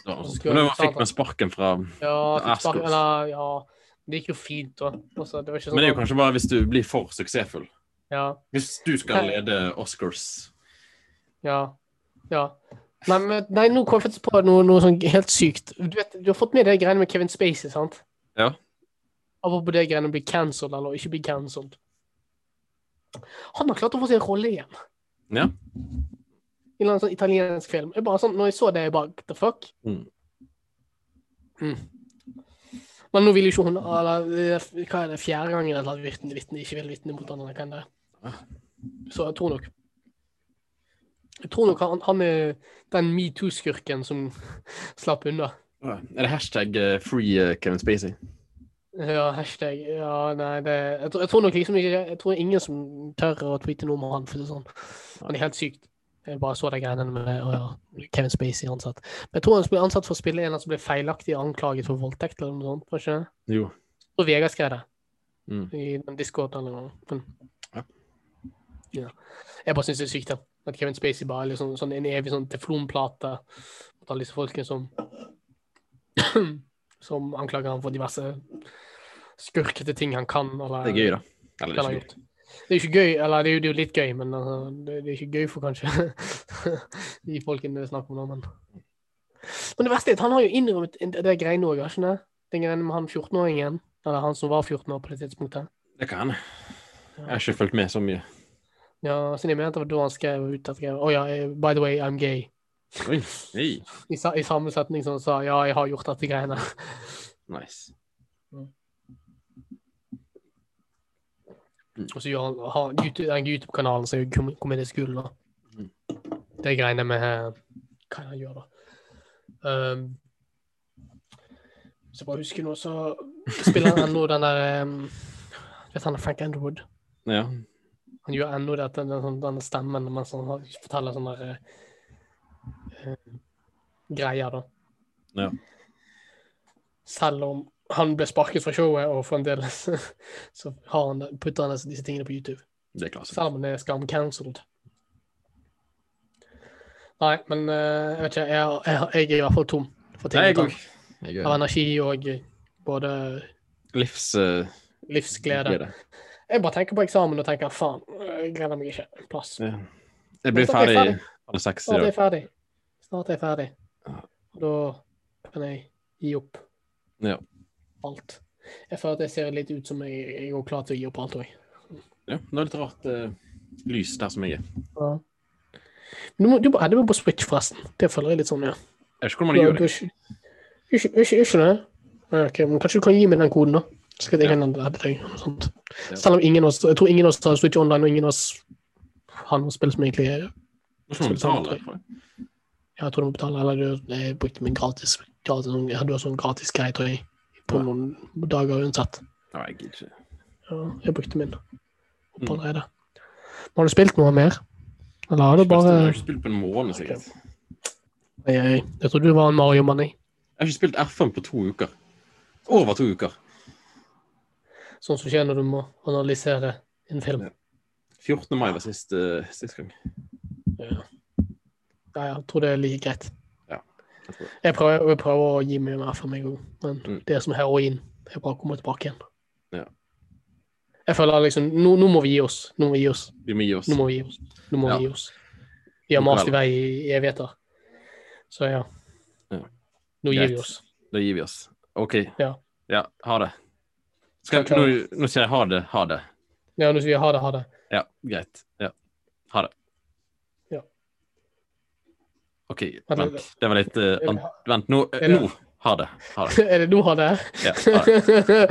S2: Det var noe sånt. Men da fikk man sparken fra Men
S1: Ja,
S2: Det er
S1: fikk spark-
S2: skummelt.
S1: eller, ja. Det gikk jo fint, da. Altså, det var ikke sånn
S2: det er jo
S1: han-
S2: kanskje bare hvis du blir for suksessfull.
S1: ja,
S2: Hvis du skal lede Oscars
S1: ja, ja. Nei, men, nei, nå kom jeg faktisk på noe, noe sånn helt sykt. Du vet, du har fått med deg greiene med Kevin Spacey, sant?
S2: Ja.
S1: Apropos det greiene å bli cancelled eller ikke bli cancelled. Han har klart å få sin rolle igjen.
S2: Ja.
S1: En eller annen sånn italiensk film. Jeg bare sånn, når jeg så det, jeg bare What the fuck?
S2: Mm.
S1: Mm. Men nå vil jo ikke hun eller, eh, Hva er det, fjerde gangen eller at vitne, vitne ikke vil vitne mot han eller hvem det er. Så jeg tror nok Jeg tror nok han, han er den metoo-skurken som slapp unna.
S2: Er det hashtag eh, free eh, Kevin Spacey?
S1: Ja, hashtag Ja, nei, det Jeg, tror- jeg tror nok liksom ikke Jeg tror ingen som tør å tweete noe om han, for det er sånn. Han er helt sykt. Jeg bare så de greiene med å, ja, Kevin Spacey ansatt. Men jeg tror han ble ansatt for å spille en eller annen som ble feilaktig anklaget for voldtekt eller noe sånt. var ikke det?
S2: Jo.
S1: Og Vegard skrev det
S2: Mm.
S1: i den discorden eller noe. Men,
S2: Ja.
S1: ja. Jeg bare syns det er sykt da. at Kevin Spacey bare er liksom, sånn en evig sånn teflonplate mot alle disse folkene som som anklager han for diverse skurkete ting han kan eller
S2: Det er gøy, da. Eller
S1: eller
S2: det
S1: har
S2: er ikke gøy.
S1: gjort. Det er jo ikke gøy, eller det er jo, det er jo litt gøy, men altså, det, det er ikke gøy for kanskje de folkene det er snakk om nå, men Men det verste er at han har jo innrømmet en- det greiene òg, har ikke det? Den greien med han 14-åringen, eller han som var 14 år på det tidspunktet.
S2: Det kan hende. Jeg har ikke fulgt med så mye.
S1: Ja, så jeg mener at det var da han skrev ut at Å ja, eh, by the way, I'm gay.
S2: Oi. Hei.
S1: I, sa, I samme setning som han sa ja, jeg har gjort dette greiene.
S2: Nice.
S1: Og så gjør han, har YouTube, den YouTube-kanalen som gjør kom- Comedy School, da.
S2: Mhm.
S1: Det greiene med eh, Hva er det han gjør, da? Um, hvis jeg bare husker nå, så spiller han ennå den der um, Vet han er Frank Underwood?
S2: Ja.
S1: Han gjør ennå det, den, den, denne stemmen mens han har- forteller sånne der, eh, greier, da.
S2: Ja.
S1: Selv om han ble sparket fra showet, og fremdeles så har han, putter han disse tingene på YouTube.
S2: Det er klart.
S1: Selv om det er skamcancelled. Nei, men eh, jeg vet ikke. Jeg, jeg, jeg er i hvert fall tom for ting.
S2: Nei,
S1: å
S2: jeg
S1: ta.
S2: òg. Jeg
S1: Av
S2: òg.
S1: energi og eh, både
S2: Livs... eh,
S1: livsglede.
S2: glede.
S1: Jeg bare tenker på eksamen og tenker faen, jeg gleder meg ikke. Plass.
S2: Ja. Jeg blir
S1: Snart er jeg
S2: ferdig
S1: ferdig.
S2: halv seks i
S1: Snart er
S2: dag.
S1: jeg ferdig. Snart er jeg ferdig.
S2: Ja.
S1: Og da kan jeg gi opp
S2: Ja.
S1: alt. Jeg føler at jeg ser litt ut som jeg, jeg er klar til å gi opp alt òg.
S2: Ja, det er litt rart eh, lys der som jeg er.
S1: Du må, du må, du må på Switch, forresten. Det føler jeg litt sånn, ja.
S2: Jeg vet ikke hvordan man gjør det.
S1: Ikke, ikke, ikke det. Ja, ok, men kanskje du kan gi meg den koden, da? Så skal jeg
S2: Ja.
S1: kan adde deg. og Sånt.
S2: Ja.
S1: Selv om ingen av oss, jeg tror ingen av oss har Switch Online, og ingen av oss har noe spill som egentlig er
S2: Hvordan man betaler for det.
S1: Jeg tror du må betale, eller du jeg brukte min gratis, gratis sånn- ja, Du har sånn gratis greie, tror jeg, på
S2: Ja.
S1: noen dager uansett.
S2: Nei, jeg gidder ikke.
S1: Ja, jeg brukte min opp
S2: Mm.
S1: allerede. Men Har du spilt noe mer? Eller har du
S2: Jeg
S1: bare
S2: har ikke spilt på en måned, sikkert.
S1: Nei, jeg, jeg trodde du var en Mario-mann, jeg.
S2: Jeg har ikke spilt F1 på to uker. Over to uker.
S1: Sånn som skjer når du må analysere en film.
S2: 14. mai var sist, eh, sist gang.
S1: Ja, jeg tror det er like greit.
S2: Jeg tror.
S1: Jeg prøver, jeg prøver å gi meg mer for meg òg, men
S2: Mm.
S1: det er som heroin. Jeg bare kommer tilbake igjen.
S2: Ja.
S1: Jeg føler liksom nå, nå må vi gi oss. Nå må vi gi oss.
S2: Vi må gi oss.
S1: Nå må vi gi oss. Nå må
S2: Ja.
S1: vi gi oss. Vi har mast i vei i evigheter. Så ja.
S2: Ja.
S1: Nå gir
S2: Greit.
S1: vi oss.
S2: Da gir vi oss. OK.
S1: Ja.
S2: Ja, ha det. Skal,
S1: Takk,
S2: nå, nå sier jeg ha det, ha det.
S1: Ja, nå sier vi ha det, ha det.
S2: Ja, greit. Ja. Ha det.
S1: Ja.
S2: OK,
S1: Vent litt.
S2: vent. Det var litt eh, an- Vent, nå. eh,
S1: Er det-
S2: nå. Ha det. Ha det.
S1: Er det nå ha det?
S2: Ja, ha det.